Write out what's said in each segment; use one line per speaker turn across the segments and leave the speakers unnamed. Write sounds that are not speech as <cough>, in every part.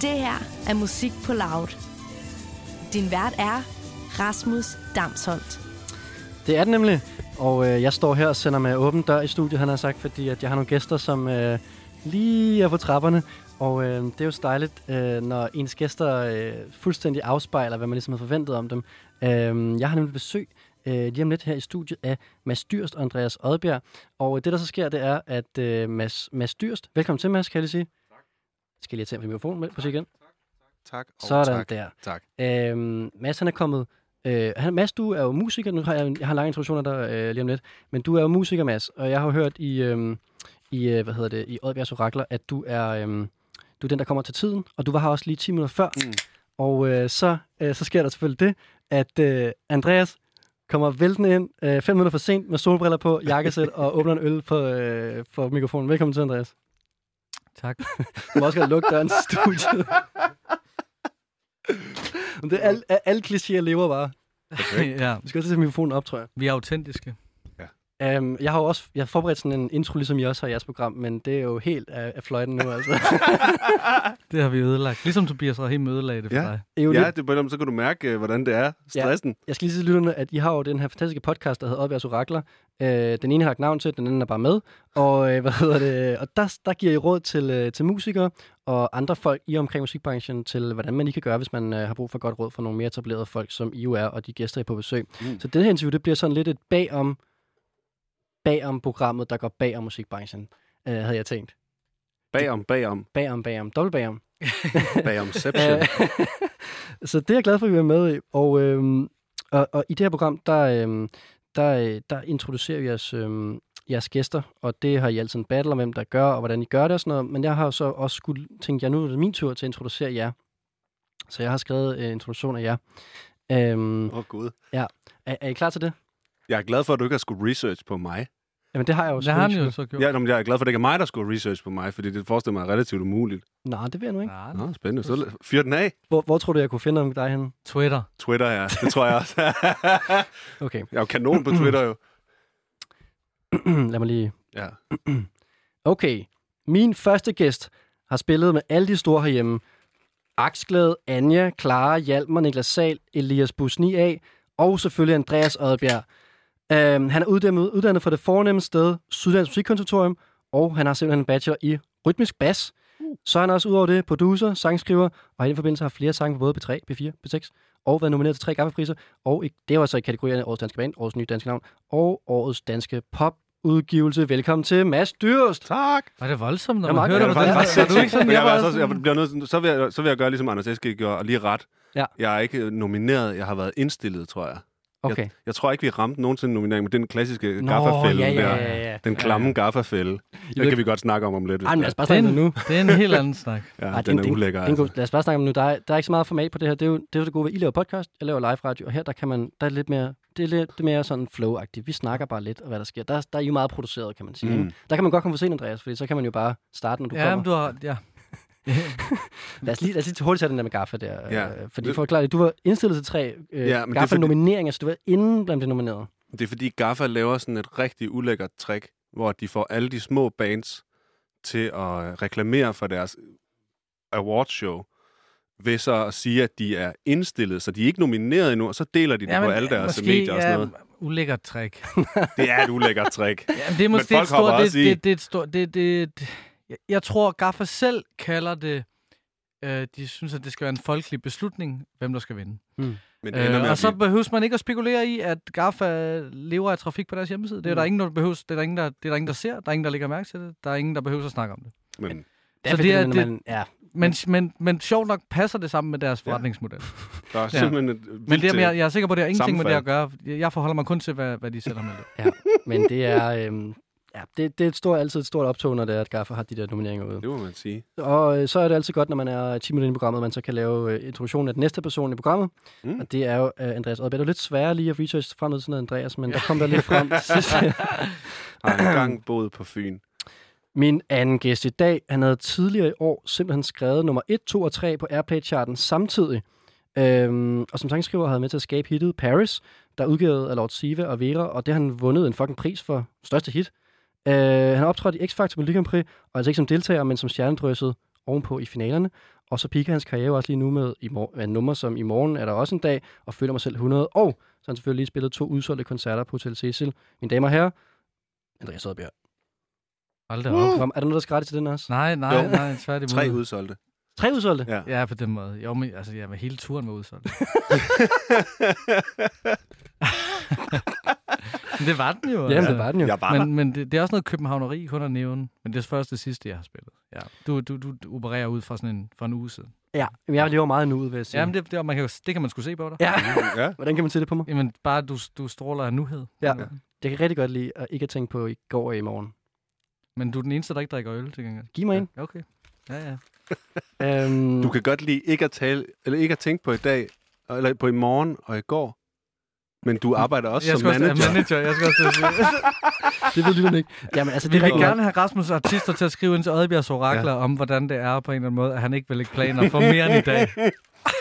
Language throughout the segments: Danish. Det her er Musik på Loud. Din vært er Rasmus Damsholdt.
Det er det nemlig. Og øh, jeg står her og sender med åben dør i studiet, han har sagt, fordi at jeg har nogle gæster, som øh, lige er på trapperne. Og øh, det er jo så dejligt, øh, når ens gæster øh, fuldstændig afspejler, hvad man ligesom havde forventet om dem. Øh, jeg har nemlig besøg øh, lige om lidt her i studiet af Mads Dyrst og Andreas Odbjerg. Og øh, det, der så sker, det er, at øh, Mads, Mads Dyrst... Velkommen til, Mads, kan jeg lige sige. Tak. Skal jeg lige tage min mikrofon med på sig igen?
Tak. Og
Sådan
tak.
der.
Tak.
Øhm, Mads, han er kommet... Øh, han, Mads, du er jo musiker. Nu har jeg, jeg har en lang introduktion af dig øh, lige om lidt. Men du er jo musiker, Mads. Og jeg har jo hørt i, øh, i øh, hvad hedder det, i Oddbjergs Orakler, at du er, øh, du er den, der kommer til tiden. Og du var her også lige 10 minutter før.
Mm.
Og øh, så, øh, så sker der selvfølgelig det, at øh, Andreas kommer væltende ind 5 øh, fem minutter for sent med solbriller på, jakkesæt og åbner en øl på, øh, for mikrofonen. Velkommen til, Andreas.
Tak.
Du må også gerne lukke døren til studiet. Men det er alle, alle klichéer lever bare.
ja,
Vi skal også tage mikrofonen op, tror jeg.
vi er autentiske.
Um, jeg har jo også jeg har forberedt sådan en intro, ligesom I også har i jeres program, men det er jo helt af, af fløjten nu, altså.
Det har vi ødelagt. Ligesom Tobias Rahim ødelagde det for
Ja.
dig.
Det er jo
Ja,
lidt,
det, på en eller anden måde, så kan du mærke, øh, hvordan det er. Stressen.
jeg skal lige sige til lytterne, at I har jo den her fantastiske podcast, der hedder Oddbjergs Orakler. Uh, den ene har et navn til, den anden er bare med. Og, uh, hvad hedder det? og der, der giver I råd til, uh, til musikere og andre folk i og omkring musikbranchen til, hvordan man lige kan gøre, hvis man uh, har brug for godt råd fra nogle mere etablerede folk, som I jo er, og de gæster, I er på besøg.
Mm.
Så det her interview, det bliver sådan lidt et bagom, bagom programmet, der går bagom musikbranchen, uh, havde jeg tænkt.
Bagom, bagom,
Bagom, bagom, dobbelt bagom. <laughs>
bagomception.
Øh, så det er jeg glad for, at vi er med i. Og, øhm, og, og i det her program, der, øhm, der, øh, der introducerer vi jeres, øhm, jeres gæster, og det har I altid en battle om, hvem der gør, og hvordan I gør det og sådan noget. Men jeg har jo så også skulle tænkt, jeg nu er det min tur til at introducere jer. Så jeg har skrevet øh, introduktion af jer. Øhm,
Åh, oh, gud.
er, er I klar til det?
Jeg er glad for, at du ikke har skulle research på mig.
Jamen, det har jeg jo
Det har han
selvfølgelig.
jo så gjort.
Ja, nå, men jeg er glad for, at det ikke er mig, der skulle research på mig, fordi det forestiller mig er relativt umuligt.
Nej, det vil jeg nu ikke.
Nej,
Nå, spændende. Så la- fyr den af.
Hvor, hvor tror du, jeg kunne finde om dig henne?
Twitter.
Twitter, ja. Det tror jeg også. <laughs>
Okay, <clears throat>
jeg er jo kanon på Twitter, jo.
lad mig lige
Ja.
Okay, min første gæst har spillet med alle de store herhjemme. Aksglæde, Anja, Clara, Hjalmar, Niklas Sal, Elias Busni A og selvfølgelig Andreas Odbjerg. Øhm, han er uddannet, uddannet fra det fornemme sted, Sydlands Musikkonservatorium, og han har simpelthen en bachelor i rytmisk bas. Så er han også udover det producer, sangskriver, og i den forbindelse har flere sange på både P3, P4, P6, og været nomineret til tre gaffepriser, og i, det var så i kategorierne Årets Danske Band, Årets Nye Danske Navn og Årets Danske Pop udgivelse. Velkommen til Mads Dyrst.
Tak.
Var det voldsomt, når
Ja,
man
Mark,
hørte
det
om
var
det?
faktisk ret
Var du ikke sådan,
Men jeg,
jeg
var
var
altså, jeg
sådan...
bliver nødt, til- så, vil jeg, så vil jeg gøre, ligesom Anders Eske gjorde, og lige ret.
Ja.
Jeg er ikke øh, nomineret. Jeg har været indstillet, tror jeg.
Okay.
Jeg, jeg tror ikke, vi ramte nogensinde nomineringen, men den klassiske
Nå,
gaffafælde
ja, ja,
der.
ja, ja, ja.
Den klamme gaffafælde.
ved-
Den kan vi godt snakke om om lidt. hvis
Ej, men
det
lad
er.
os bare snakke om
Den-
det nu.
Det er en helt anden snak.
Ja,
Ej,
den, er ulækker.
den,
altså.
den, Lad os bare snakke om det nu. Der er, der er ikke så meget format på det her. Det er jo det, er jo det gode ved, I laver podcast, jeg laver live radio, og her der kan man, der er lidt mere, det er lidt det er mere sådan flow-agtigt. Vi snakker bare lidt, og hvad der sker. Der, der er I jo meget produceret, kan man sige. Mm.
Mm.
Ikke? Der kan man godt komme for sent, Andreas, fordi så kan man jo bare starte, når du
Ja,
kommer.
men du har... Ja.
Lad os lige, lad os lige hurtigt tage den der med Gaffa der.
Ja.
Øh, fordi for at klare det, du var indstillet til tre øh,
Ja,
ja,
men det er
Gaffa-nomineringer, så du var inden blandt de nominerede.
Det er fordi Gaffa laver sådan et rigtig ulækkert trick, hvor de får alle de små bands til at reklamere for deres awardshow ved så at sige, at de er indstillet, så de er ikke nomineret endnu, og så deler de det på alle deres medier og sådan noget.
ulækkert trick.
Det er et ulækkert trick.
Jamen, det er
Men
måske
folk
et stort...
hopper
Det,
også i.
det, det, er et stort... Det, det, det, jeg- jeg tror, Gaffa selv kalder det... Øh, de synes, at det skal være en folkelig beslutning, hvem der skal vinde.
Men det ender med
Øh, og
at
så
blive...
behøves man ikke at spekulere i, at Gaffa lever af trafik på deres hjemmeside. Det er,
Mm.
der ingen, der behøves, det er der ingen, der, det er der ingen, der ser. Der er ingen, der lægger mærke til det. Der er ingen, der behøver at snakke om det.
Men,
Det
Så
fordi,
det er-
når
det-
man, ja,
Men, men, men sjovt nok passer det sammen med deres forretningsmodel. Ja.
der er simpelthen et
Men det,
vildt, øh,
er- jeg, jeg er sikker på, at det har ingenting med det at
sammenfald.
gøre. Jeg forholder mig kun til, hvad, hvad de selv har med det.
men det er... Øh, ja, det, det er et stort, altid et stort optog, når det er, at Gaffa har de der nomineringer ude.
øh, det må man sige.
Og øh, så er det altid godt, når man er 10 minutter inde i programmet, at man så kan lave øh, introduktionen af den næste person i programmet. Mm.
Mm.
Og det er jo øh, Andreas Odberg. Det er jo lidt sværere lige at researche frem til sådan noget, Andreas, men der kom der lidt frem til sidst.
Har engang boet på Fyn.
Min anden gæst i dag, han havde tidligere i år simpelthen skrevet nummer 1, 2 og 3 på Airplay-charten samtidig. Øhm, og som sangskriver havde han med til at skabe hittet Paris, der er udgivet af Lord Siva og Vera, og det har han vundet en fucking pris for største hit. Øh, han optrådte i X-Factor med Lykke Prix, og altså ikke som deltager, men som stjernedrysset ovenpå i finalerne. Og så piker hans karriere jo også lige nu med, i mor- med nummer som I morgen er der også en dag, og føler mig selv 100. Og så har han selvfølgelig lige spillet to udsolgte koncerter på Hotel Cecil. Mine damer og herrer, Andreas Oddbjerg.
Hold da op.
Kom, er der noget, der skal rette til den også?
Nej, nej,
Jo.
nej, tværtimod.
Tre udsolgte.
Tre udsolgte?
Ja.
Ja, på den måde. Jo, men altså, ja, men hele turen var udsolgt. Men det var den jo.
Jamen,
altså.
det var den jo.
<laughs> Jeg var der.
Men, men det, det, er også noget københavneri, kun at nævne. Men det er først det sidste, jeg har spillet. Ja. Du, du, du opererer ud fra sådan en, fra en uge siden.
Ja, men jeg lever meget nu, vil jeg sige.
Jamen, det, det, og man kan, jo- det kan man skulle se på dig.
Ja. <laughs>
Ja.
Hvordan kan man se det på mig?
Jamen, bare du, du stråler af nuhed.
Ja. Jeg kan rigtig godt lide at ikke at tænke på i går og i morgen.
Men du er den eneste, der ikke drikker øl til gengæld.
Giv mig en.
Ja, okay. Ja, ja.
Øhm,
Mm.
Du kan godt lide ikke at, tale, eller ikke at tænke på i dag, eller på i morgen og i går, men du arbejder også
Mm. jeg
som manager.
Også, ja, manager. Jeg skal også til at
<laughs>
sige.
Det ved lytterne ikke. Jamen, altså,
Vi
det er
vil
rigtig
gerne have Rasmus' artister til at skrive ind til Adbjergs orakler ja. om, hvordan det er på en eller anden måde, at han ikke vil lægge planer for mere end i dag.
<laughs>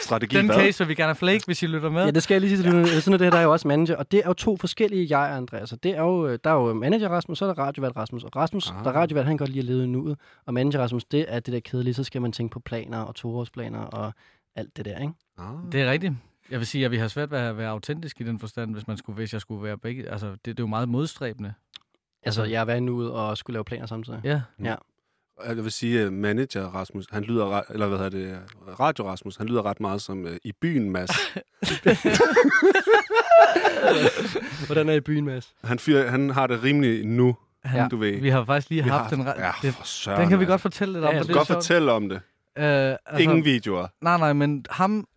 Strategi
Den
hvad?
case vil vi gerne have flake, hvis I lytter med.
Ja, det skal jeg lige sige til lytterne. Sådan er det her, der er jo også manager. Og det er jo to forskellige jeg, Andreas. Og det er jo, øh, der er jo manager Rasmus, så er der radiovært Rasmus. Og Rasmus, ah.
Ah.
der er radiovært, han kan godt lide at leve i nuet. Og manager Rasmus, det er det der kedelige. Så skal man tænke på planer og toårsplaner og alt det der, ikke?
Ah.
Det er rigtigt. Jeg vil sige, at vi har svært ved at være autentisk i den forstand, hvis, man skulle, hvis jeg skulle være begge. Altså, det, det er jo meget modstræbende.
Altså, jeg er været i nuet og skulle lave planer samtidig.
Ja.
Jeg vil sige, øh, manager Rasmus, han lyder, re- eller hvad hedder det, øh, Radio Rasmus, han lyder ret meget som øh, i byen, Mads.
<laughs>
Hvordan er i byen, Mads?
Han, fyr, han har det rimelig nu,
Ja.
ja. du ved.
Vi har faktisk lige
Vi
haft den...
ja,
Re- det,
for søren,
den kan vi
altså.
godt fortælle lidt om.
Ja,
for
Du
det
kan godt
er sjovt.
fortælle om det.
Øh, altså,
Ingen videoer.
Nej, nej, men ham,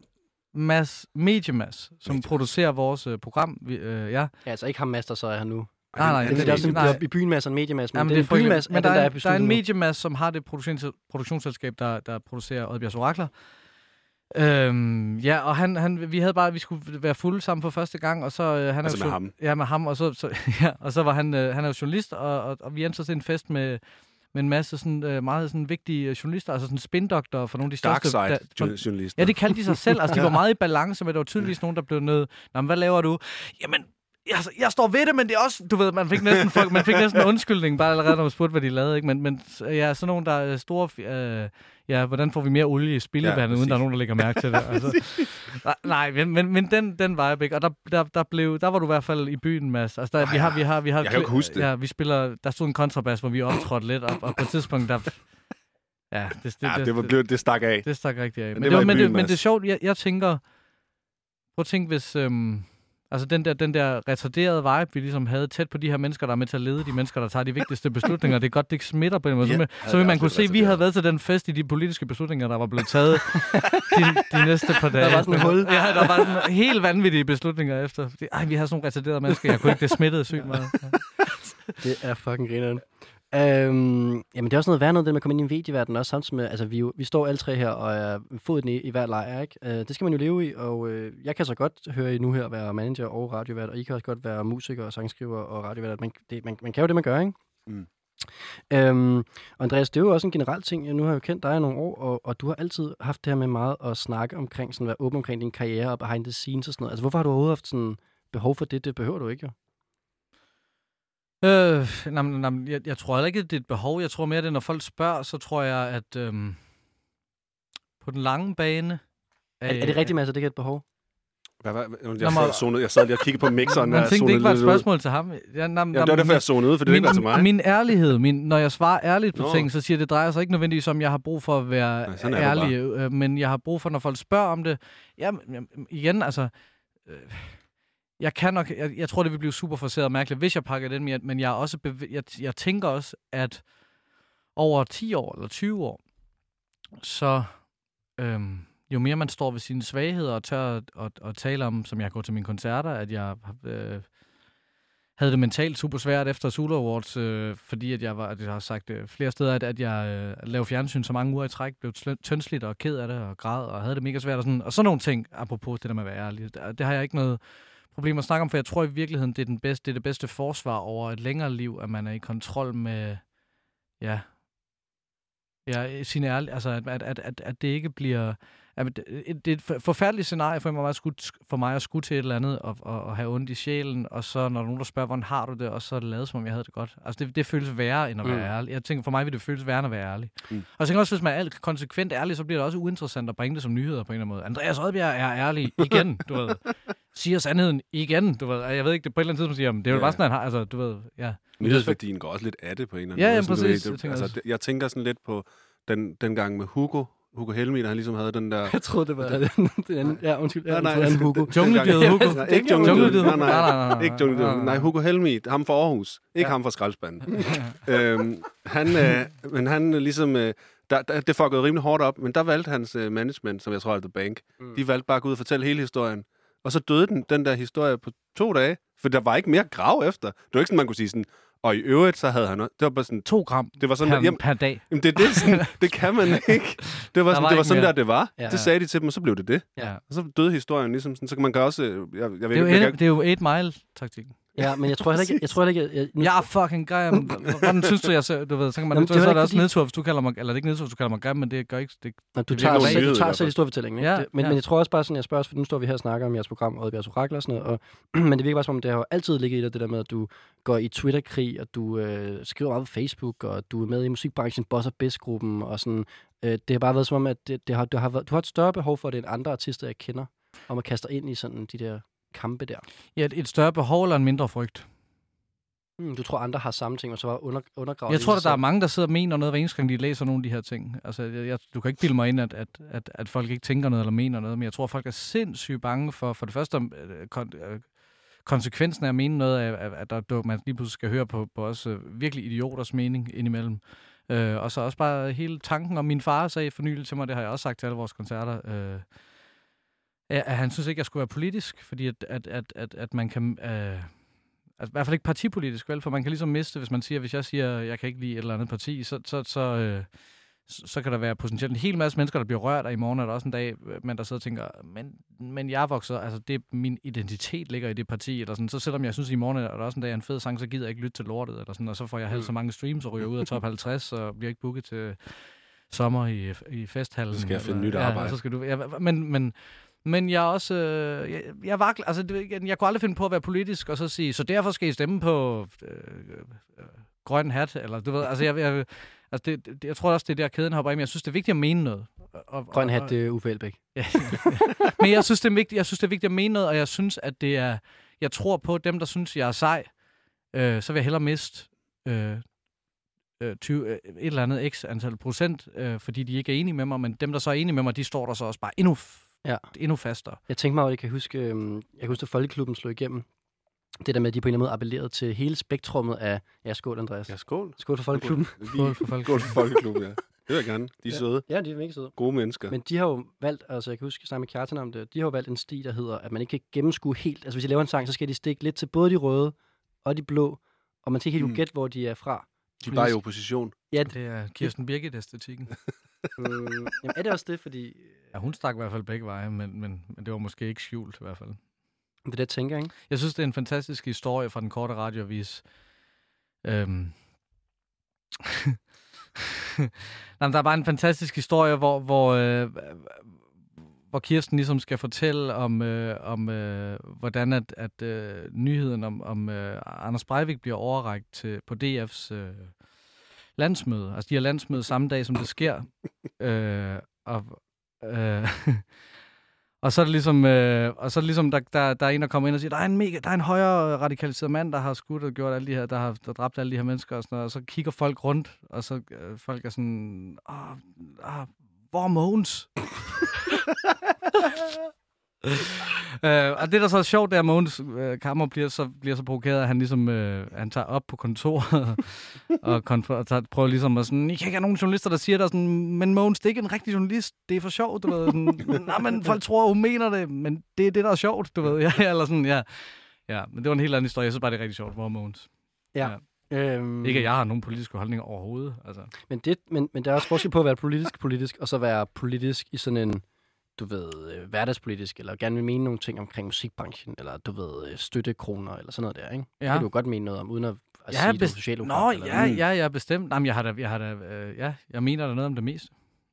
Mads, Mediemas, som
Mediemas.
producerer vores øh, program, vi, øh, ja,
Ja, altså ikke ham, Mads, der så er her nu.
Nej, nej,
Han-
Det
han
er, der er sådan,
Nej.
der er i byen, Mads og en mediemas. Men
Jamen,
det er, en byen, Mads,
frygteligt.
men
men
der,
der,
er
er, der er
besluttet
en
nu.
mediemas, som har det produktions- produktionsselskab, der, der producerer Oddbjergs Orakler. Øhm, ja, og han, han, vi havde bare, vi skulle være fulde sammen for første gang, og så... Øh, han er
Altså
jo
med
jo-
ham?
Ja, med ham, og så, så, <laughs> ja, og så var han, øh, han er jo journalist, og, og, og vi endte så til en fest med, med en masse sådan, øh, meget sådan vigtige øh, journalister, altså sådan spindoktorer for nogle af de største... da- for-
Darkside-journalister.
Ja, det kaldte de sig selv. Altså, de
<laughs>
var meget i balance, men der var tydeligvis nogen, der blev nødt. Nå, men hvad laver du? Jamen, altså, jeg står ved det, men det er også... Du ved, man fik næsten, folk, man fik næsten en undskyldning, bare allerede, når man spurgte, hvad de lavede. Ikke? Men, men ja, sådan nogen, der er store... fi- Øh, ja, hvordan får vi mere olie i
Ja,
spildevandet, ja,
præcis.
uden der er nogen, der lægger
<laughs>
mærke til det? Altså, nej, men, men, men den, den vibe, ikke? Og der, der, der, blev, der var du i hvert fald i byen, Mads. Altså, der, vi har, vi har, vi har,
Jeg kan jo ikke huske det.
Ja, vi spiller... Der stod en kontrabas, hvor vi optrådte lidt, og, og på et
<laughs>
tidspunkt, der... Ja, det, det,
ja, det, var, det, det stak af.
det stak rigtig af.
det
Men, det var,
var i
men, det,
byen,
men
Mads.
det er sjovt, jeg, jeg tænker... Prøv at tænke, hvis... Øhm, altså den der, den der retarderede vibe, vi ligesom havde tæt på de her mennesker, der er med til at lede, de mennesker, der tager de vigtigste beslutninger. Det er godt, det ikke smitter på en måde.
Ja,
Så, vil-
havde
så vil
jeg
man
også
kunne
lidt
se, at vi
retarderet.
havde været til den fest i de politiske beslutninger, der var blevet taget de, de næste par dage.
Der var sådan et hul.
Ja, der var sådan helt vanvittige beslutninger efter. Fordi, Ej, vi havde sådan nogle retarderede mennesker. Jeg kunne ikke, det smittede sygt meget. Ja.
Det er fucking grineren. Øhm, jamen, det er også noget værd noget, det med at komme ind i medieverden også, samtidig med, altså vi, er jo- vi står alle tre her og er med foden i, i hver lejr, ikke? Øh, det skal man jo leve i, og øh, jeg kan så godt høre I nu her være manager og radiovært, og I kan også godt være musiker og sangskriver og radiovært. Man, det, man, man kan jo det, man gør, ikke?
Mm.
Øhm, og Andreas, det er jo også en generel ting. Nu har jeg jo kendt dig i nogle år, og, og du har altid haft det her med meget at snakke omkring, sådan være åben omkring din karriere og behind the scenes og sådan noget. Altså, hvorfor har du overhovedet haft sådan behov for det? Det behøver du ikke, jo.
Øh, nej, nej, nej, jeg, jeg tror heller ikke, det er et behov. Jeg tror mere, det er, når folk spørger, så tror jeg, at øhm, på den lange bane...
Er, er
Øh,
det rigtigt, Mads, at det ikke er et behov?
Hvad, hvad, hvad,
Nå,
jeg,
men-
sad, zonede, jeg sad lige og kiggede på mixeren. og
Man tænkte, det
zonede
ikke var et
lidt ud.
spørgsmål til ham. Ja, nej,
Ja, det var derfor, jeg zonede ud, for det
min,
ikke var til mig.
min ærlighed, min, når jeg svarer ærligt på
Nå.
ting, så siger jeg, det drejer sig ikke nødvendigvis om, jeg har brug for at være
Nej,
Nej,
sådan er du
ærlig, øh, men jeg har brug for, når folk spørger om det. Jamen, jamen, igen, altså... Øh, jeg kan nok... Jeg, jeg tror, det vil blive super forceret og mærkeligt, hvis jeg pakker den med, men jeg, er også bev- jeg, jeg tænker også, at over 10 år eller 20 år, så... Øhm, jo mere man står ved sine svagheder og tør at, at, at tale om, som jeg går til mine koncerter, at jeg øh, havde det mentalt super svært efter Zulu Awards, øh, fordi at jeg, var, at jeg har sagt øh, flere steder, at, at jeg øh, lavede fjernsyn så mange uger i træk, blev slø- tyndslidt og ked af det og græd og havde det mega svært. Og sådan, og sådan nogle ting, apropos det der med at være ærlig, det, det har jeg ikke noget problem at snakke om, for jeg tror i virkeligheden, det er, den bedste, det, er det bedste forsvar over et længere liv, at man er i kontrol med ja, ja, sin ærlig, altså at, at, at, at, at det ikke bliver Jamen, det, det er et for- forfærdeligt scenarie for mig, at skulle, for mig at skulle til et eller andet og, og, og have ondt i sjælen, og så når der er nogen, der spørger, hvordan har du det, og så er det lavet, som om jeg havde det godt. Altså, det, det føles værre end at være
Mm.
mm. ærlig. Jeg tænker, for mig vil det føles værre end at være ærlig.
Mm.
Mm. Og jeg tænker også, hvis man er alt konsekvent ærlig, så bliver det også uinteressant at bringe det som nyheder på en eller anden måde. Andreas Rødbjerg er ærlig igen, du ved. Siger sandheden igen, du ved. Og Jeg ved ikke, det på et eller andet tidspunkt siger, "Jamen, det er jo
Ja.
bare sådan, han har, altså, du ved, ja.
Nyhedsværdien går også lidt af det på en eller anden
Ja,
måde.
ja,
sådan, du
præcis.
ved,
Jeg tænker
altså,
også.
det- jeg tænker sådan lidt på den, den gang med Hugo. Hugo Helmin, der han ligesom havde den der...
Jeg troede, det var den, den anden. Ja, undskyld. Ja, nej, nej.
den- <laughs>
Anden Hugo.
den-
Jungledyret
dengang-
Hugo.
Nej, ikke jungledyret.
Jungledyret
Nej,
Hugo.
nej,
Nej, nej, nej, nej.
Ikke jungledyret. Nej,
Nej, nej.
Hugo Helmi, ham fra Aarhus. Ikke
Ja.
ham fra
<laughs>
skraldespanden. øhm, han, øh, men han øh, ligesom... Øh, der, der, det fuckede rimelig hårdt op, men der valgte hans øh, management, som jeg tror er The Bank,
Mm.
de valgte bare at gå ud og fortælle hele historien. Og så døde den, den der historie på to dage, for der var ikke mere grav efter. Det var ikke sådan, man kunne sige sådan, og i øvrigt, så havde han... også- Det var bare sådan,
To gram
det var sådan,
per,
jamen,
per dag.
Jamen, det, er det,
<laughs>
sådan, det kan man ikke. Det var, sådan,
var
det var
ikke
sådan
mere.
der, det var.
Ja.
Ja. Det sagde de til dem, og så blev det det.
Ja.
Og så døde historien ligesom sådan. Så kan man kan også... øh, Jeg, jeg, ved
Det er, jo,
ikke, jeg, kan
et- det er jo 8 mile-taktikken.
Ja, men jeg tror heller ikke, jeg tror heller ikke, jeg, nu,
Jeg er fucking grim. Hvordan synes du, jeg ser, du ved, så kan man,
Jamen, det
Jamen, så,
er
så er
ikke
det også
fordi-
nedtur, hvis du kalder mig, eller det er ikke nedtur, hvis du kalder mig grim, men det gør ikke, det,
Nå, du
Det
tager,
virker
jo
selv, du
nyhed i
tager
hvert
selv
fald.
historiefortællingen, ikke?
Ja,
Det- men,
ja.
men jeg tror også bare sådan, jeg spørger også, for nu står vi her og snakker om jeres program, Rødbjergs Orakel og sådan noget, og, <clears throat> men det virker bare som om, det har jo altid ligget i dig, det der med, at du går i Twitter-krig, og du øh, skriver meget på Facebook, og du er med i musikbranchen, Boss og Best-gruppen, og sådan, øh, det har bare været som om, at det, det har, du, har været, du har et større behov for det, end andre artister, jeg kender, om at kaste dig ind i sådan de der kampe der.
ja, et- et større behov eller en mindre frygt.
Hmm, du tror, andre har samme ting, og så bare under, undergraver
Jeg
det i
tror,
sig
at der er
selv.
mange, der sidder og mener noget hver eneste gang, de læser nogle af de her ting. Altså, jeg, jeg, du kan ikke bilde mig ind, at, at, at, at folk ikke tænker noget eller mener noget, men jeg tror, folk er sindssygt bange for, for det første, om, øh, kon, øh, konsekvensen af at mene noget, er, at, at der, du, man lige pludselig skal høre på, på også øh, virkelig idioters mening indimellem. Øh, og så også bare hele tanken om, min far sagde for nylig til mig, det har jeg også sagt til alle vores koncerter, øh, at, at han synes ikke, jeg skulle være politisk, fordi at, at, at, at, at man kan... Øh, altså i hvert fald ikke partipolitisk, vel? For man kan ligesom miste, hvis man siger, hvis jeg siger, jeg kan ikke lide et eller andet parti, så, så, så, øh, så så kan der være potentielt en hel masse mennesker, der bliver rørt, og i morgen er der også en dag, øh, man der sidder og tænker, men, men jeg vokser, altså det, min identitet ligger i det parti, eller sådan, så selvom jeg synes, i morgen er der også en dag en fed sang, så gider jeg ikke lytte til lortet, eller sådan, og så får jeg halvt
Mm.
så mange streams, og ryger ud
<laughs>
af top 50, og bliver ikke booket til sommer i, i festhallen.
Så skal jeg finde
eller-
nyt
Ja,
arbejde.
og så skal du, ja, men, men, men jeg er også... Øh, jeg, jeg, vakler, altså, det, ved jeg ikke, jeg kunne aldrig finde på at være politisk, og så sige, så derfor skal I stemme på øh, øh, grøn hat, eller du ved, altså, jeg, jeg, altså det, det, jeg tror også, det er der, kæden hopper af, men jeg synes, det er vigtigt at mene noget. Og- Og,
Grøn hat,
og- <laughs>
det er Uffe Elbæk.
men jeg synes, det er vigtigt, jeg synes, det er vigtigt at mene noget, og jeg synes, at det er... Jeg tror på dem, der synes, jeg er sej, øh, så vil jeg hellere miste øh, øh, 20, øh, et eller andet x antal procent, øh, fordi de ikke er enige med mig, men dem, der så er enige med mig, de står der så også bare endnu, f-
Ja.
endnu fastere.
Jeg tænkte mig, at jeg kan huske, øhm, jeg kan huske, at Folkeklubben slog igennem. Det der med, at de på en eller anden måde appellerede til hele spektrummet af... Ja, skål, Andreas.
Ja, skål.
Skål for Folkeklubben.
Skål for folk.
Skål for folkeklubben, ja. Det vil jeg gerne. De er søde.
Ja, de er mega søde.
Gode mennesker.
Men de har jo valgt, altså jeg kan huske, at jeg snakkede med Kjartan om det, de har jo valgt en sti, der hedder, at man ikke kan gennemskue helt. Altså hvis de laver en sang, så skal de stikke lidt til både de røde og de blå, og man skal ikke helt
Mm.
kunne gætte, hvor de er <laughs> fra.
de er bare i opposition.
Ja, d-
Det er Kirsten Birgit-æstetikken.
øh, jamen, er det også det, fordi... øh,
Ja, hun stak i hvert fald begge veje, men, men, men det var måske ikke skjult i hvert fald.
Det er det, jeg tænker, ikke?
Jeg synes, det er en fantastisk historie fra den korte radioavis. Øhm. <laughs> Nej, men der er bare en fantastisk historie, hvor, hvor, øh, hvor Kirsten ligesom skal fortælle om, øh, om øh, hvordan at, at øh, nyheden om, om øh, Anders Breivik bliver overrækt til, på DF's øh, landsmøde. Altså, de har landsmøde samme dag, som det sker. øh, og, øh, <laughs> Og så er det ligesom, øh, og så er det ligesom der, der, der er en, der kommer ind og siger, der er en, mega, der er en højere radikaliseret mand, der har skudt og gjort alle de her, der har der dræbt alle de her mennesker og sådan noget. Og så kigger folk rundt, og så øh, folk er sådan, ah, ah, hvor er Mogens? <laughs> øh, og det, der så er sjovt, det er, at Mogens øh, Kammer bliver så, bliver så provokeret, at han ligesom øh, han tager op på kontoret og, konf- og tager, prøver ligesom at sådan, I kan ikke have nogen journalister, der siger der sådan, men Mogens, det er ikke en rigtig journalist, det er for sjovt, du ved. Sådan, Nej, men folk tror, hun mener det, men det er det, der er sjovt, du ved. Ja, eller sådan, ja. Ja, men det var en helt anden historie. Jeg synes bare, det er rigtig sjovt, hvor er Mogens.
Øhm,
Ikke, at jeg har nogen politiske holdninger overhovedet. Altså.
Men, det, men, men der er også forskel på at være politisk politisk, og så være politisk i sådan en, du ved, øh, hverdagspolitisk, eller gerne vil mene nogle ting omkring musikbranchen, eller du ved, øh, støttekroner, eller sådan noget der, ikke? Ja. Det kan du jo godt mene noget om, uden at, at sige, at du er
best-
socialdemokrat.
Nå,
eller
ja,
noget.
ja, ja, bestemt. Jamen, jeg har da, jeg har da, øh, ja, jeg mener da noget om det meste.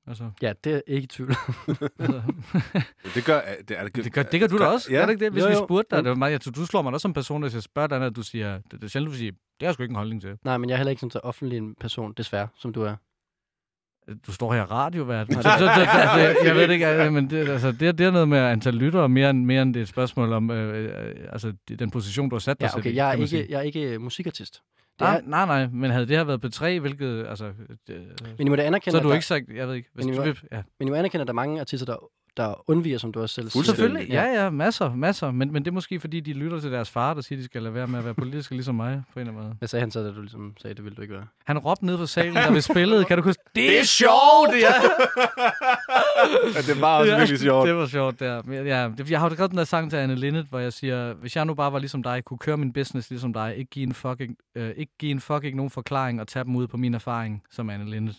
Altså,
Ja, det er jeg ikke i tvivl. <laughs>
altså,
Det gør, det, er, det,
<laughs> det, gør, det gør du da også. Ja. Er det ikke det? Hvis
Jo,
jo, jo.
jo.
vi spurgte
Jo.
dig, det var meget, jeg, du slår mig da også som person, hvis jeg spørger dig, at du siger, det, det er sjældent, du siger, det har jeg sgu ikke en holdning til.
Nej, men jeg er heller ikke sådan så offentlig en person, desværre, som du er.
Du står her
<laughs>
radiovært. Så, så, så, altså, jeg ved det ikke, altså, men det, altså, det, er- det er noget med antal lyttere, mere end, mere end det er et spørgsmål om øh, øh, altså, det- den position, du har sat dig
Ja,
selv i,
okay, jeg er
kan man sige. Ah.
ikke, jeg er ikke øh, musikartist. Det
Nej,
er,
nej, nej, men havde det her været på 3, hvilket, altså, det,
men I må da
så
anerkende,
har
at
du
der,
ikke sagt, jeg ved ikke, hvis
Men I
du
må-
vil, ja.
men I må anerkende, at der er mange artister, der, der undviger, som du også selv siger.
Fuldstændig.
Selvfølgelig, ja, ja, masser, masser, men, men det er måske, fordi de lytter til deres far, der siger, de skal lade være med at være politiske, ligesom mig, på en eller anden måde.
Hvad sagde han så, da du ligesom sagde, det ville du ikke være?
Han råbte ned fra salen, da vi spillede, kan du huske?
det er sjovt, <laughs> ja! Altså, det var
<laughs>
også virkelig sjovt.
Det var sjovt, der. Ja, det, jeg har jo skrevet den der sang til Anne Linnet, hvor jeg siger, hvis jeg nu bare var ligesom dig, kunne køre min business ligesom dig, ikke give en fucking, øh, ikke give en fucking nogen forklaring og tage dem ud på min erfaring som Anne Linnet.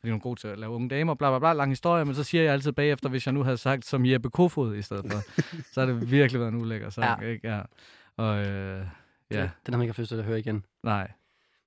Fordi hun er god til at lave unge damer, bla bla bla, lang historie, men så siger jeg altid bagefter, hvis jeg nu havde sagt som Jeppe Kofod i stedet for, så har det virkelig været en ulækker sang, ja. ikke? Ja. Og øh, ja,
Det, den har man ikke haft lyst til at høre igen.
nej.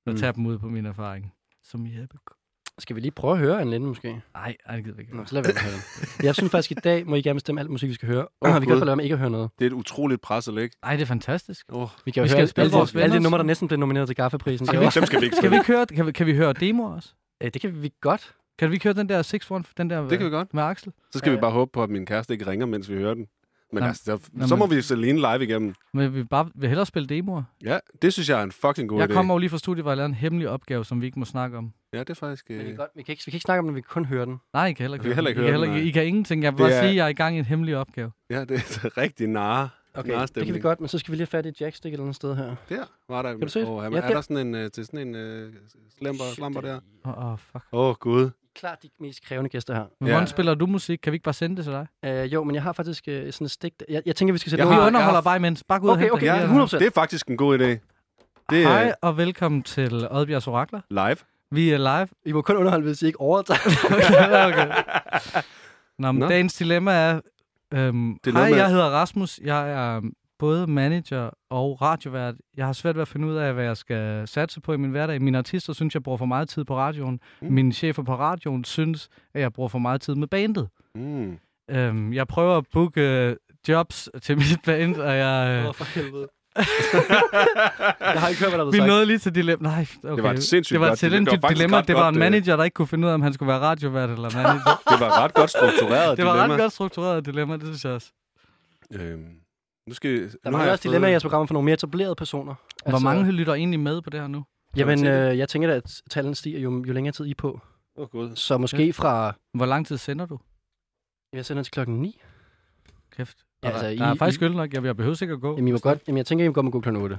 Så
Mm.
tage dem ud på min erfaring. Som Jeppe Kofod.
Skal vi lige prøve at høre en lille måske?
Nej, ej, det gider vi ikke.
Nå, så lad være med at høre den. Jeg synes faktisk, i dag må I gerne bestemme alt musik, vi skal høre. Oh, vi kan i
Gud.
hvert fald lade være med ikke at høre noget.
Det er et utroligt pres at lægge.
Nej, det er fantastisk.
Oh.
Vi kan jo
Vi
vi
skal
høre
spille
alle,
vores
vores alle de
venners.
numre, der næsten blev nomineret til Gaffaprisen. Det,
Skal vi ikke, dem skal vi ikke
Kan vi
spille.
ikke høre, kan vi, kan vi høre demoer også?
øh, det kan vi godt.
Kan vi køre den der 6 1 den der øh,
Det kan vi godt.
med Axel?
Så skal vi bare håbe på, at min kæreste ikke ringer, mens vi hører den. Men
Nå,
altså, der,
nå,
så må
men-
vi Celine live igennem.
Men vi bare vil hellere spille demoer.
Ja, det synes jeg er en fucking god
jeg
idé.
kommer jo lige fra studiet, hvor jeg lavede en hemmelig opgave, som vi ikke må snakke om.
Ja, det er faktisk...
Men vi, kan
Øh...
godt vi, kan ikke, vi kan ikke snakke om det, vi kan kun høre den.
Nej, I kan heller ikke,
Vi kan heller ikke
I,
høre
heller
den,
ikke-
nej.
I kan ingenting. Jeg vil
Det
bare
er-
sige, at jeg er i gang i en hemmelig opgave.
Ja, det er <laughs> rigtig nare.
Okay,
nare
det kan vi
stemning.
godt, men så skal vi lige have fat i et jackstick et eller andet sted her.
Der var der. Kan
du se det?
Åh, er,
Ja,
er
der.
der sådan en, øh, til sådan en øh, slamper, slamper der?
Åh, oh, oh, fuck.
Åh, oh, gud.
Klart de mest krævende gæster her.
Men
Ja.
Hvordan spiller du musik? Kan vi ikke bare sende det til dig?
Uh, jo, men jeg har faktisk uh, sådan et stik. Jeg, jeg tænker, vi skal sætte
Jeg
Vi
noget
har-
under.
underholder
jeg-
bare imens. Bare gå ud og
Okay,
hente
okay,
det.
Ja,
Ja.
100%.
Det er faktisk en god idé. Det er
Hej og velkommen til Oddbjergs Orakler.
live.
Vi er live.
I må kun underholde, hvis I ikke overtager.
okay. <laughs> okay. Nå, men
Nå.
Nå. dagens dilemma er... Øhm,
Det er noget
hej,
med-
jeg hedder Rasmus. Jeg er øhm, både manager og radiovært. Jeg har svært ved at finde ud af, hvad jeg skal satse på i min hverdag. Mine artister synes, jeg bruger for meget tid på radioen.
Mm.
Mm. Mine chefer på radioen synes, at jeg bruger for meget tid med bandet.
Mm.
Øhm, jeg prøver at booke øh, jobs til mit band, og jeg... Øh,
Åh, for helvede. <laughs> jeg har ikke hørt, hvad der er
vi
blevet sagt.
nåede lige til dilemma. Nej, okay.
Det var et sindssygt
det var
godt
et
dilemma. Det var
dilemma.
faktisk
dilemma.
ret
Det var
godt,
en
øh,
manager, der ikke kunne finde ud af, om han skulle være radiovært eller manager.
<laughs> Det var ret godt struktureret
<laughs> det var
dilemma.
ret godt struktureret dilemma, det synes jeg også.
Øhm, nu skal
Der
nu har
var
jeg
også dilemma i
fået-
jeres program for nogle mere etablerede personer. Altså,
Hvor
Altså-
mange lytter egentlig med på det her nu?
Jamen,
Kan man
øh, jeg tænker da, at tallene stiger jo, jo længere tid I er på.
Åh, oh, gud.
Så måske fra...
Hvor lang tid sender du?
Jeg sender til klokken 9.
Kæft.
Ja, altså,
der
I-
er faktisk
I-
øl nok. Jeg, jeg behøver sikkert at gå.
Jamen, I må godt, jamen, jeg tænker, I må godt må gå klokken 8.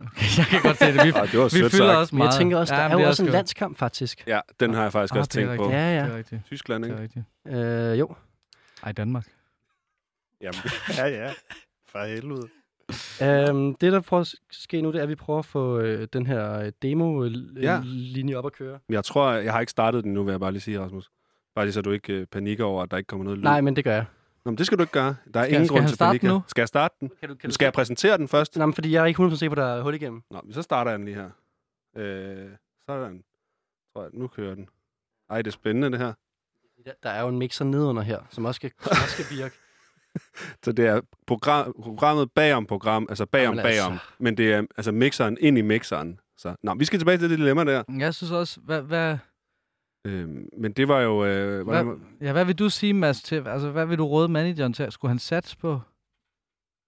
Okay, <laughs> jeg kan godt se det. Vi,
<laughs> Ej, det var
<laughs> vi
sødt
fylder
sagt.
også
Men
meget.
jeg tænker også, der
men
er
det
jo også en
skønt.
landskamp, faktisk.
Ja, den har jeg faktisk
Ah,
også
det er
tænkt på.
rigtigt.
Ja,
Det
ja.
er rigtigt.
Tyskland,
Det
ikke?
er rigtigt.
Øh, jo.
Ej, Danmark.
Jamen, ja, ja. For helvede.
Øhm, det, der prøver at ske nu, det er, at vi prøver at få øh, den her
Ja.
demo-linje op at køre.
Jeg tror, jeg har ikke startet den nu, vil jeg bare lige sige, Rasmus. Bare lige så du ikke øh, panikker over, at der ikke kommer noget lyd.
Nej, men det gør jeg.
Nå, men det skal du ikke gøre. Der er
Skal-
ingen
skal
grund
han
til
starte
panik. her.
nu?
Skal jeg starte den?
Kan du,
Kan skal jeg præsentere den først?
Nej, men fordi jeg er ikke 100% sikker på, at der er hul igennem.
Nå, men så starter jeg den lige her. Øh, sådan. Tror jeg, nu kører den. Ej, det er spændende, det her.
Der- Der er jo en mixer nedenunder her, som også skal, som også skal virke.
Så det er program, programmet bagom program, altså bagom
Jamen altså.
bagom. Men det er altså mixeren ind i mixeren. Så, nå, vi skal tilbage til det dilemma der.
Jeg synes også, hvad, hvad,
Øhm, men det var jo... Øh, hvordan,
hvad, ja, hvad vil du sige, Mads, til, altså, hvad vil du råde manageren til? Skulle han satse på,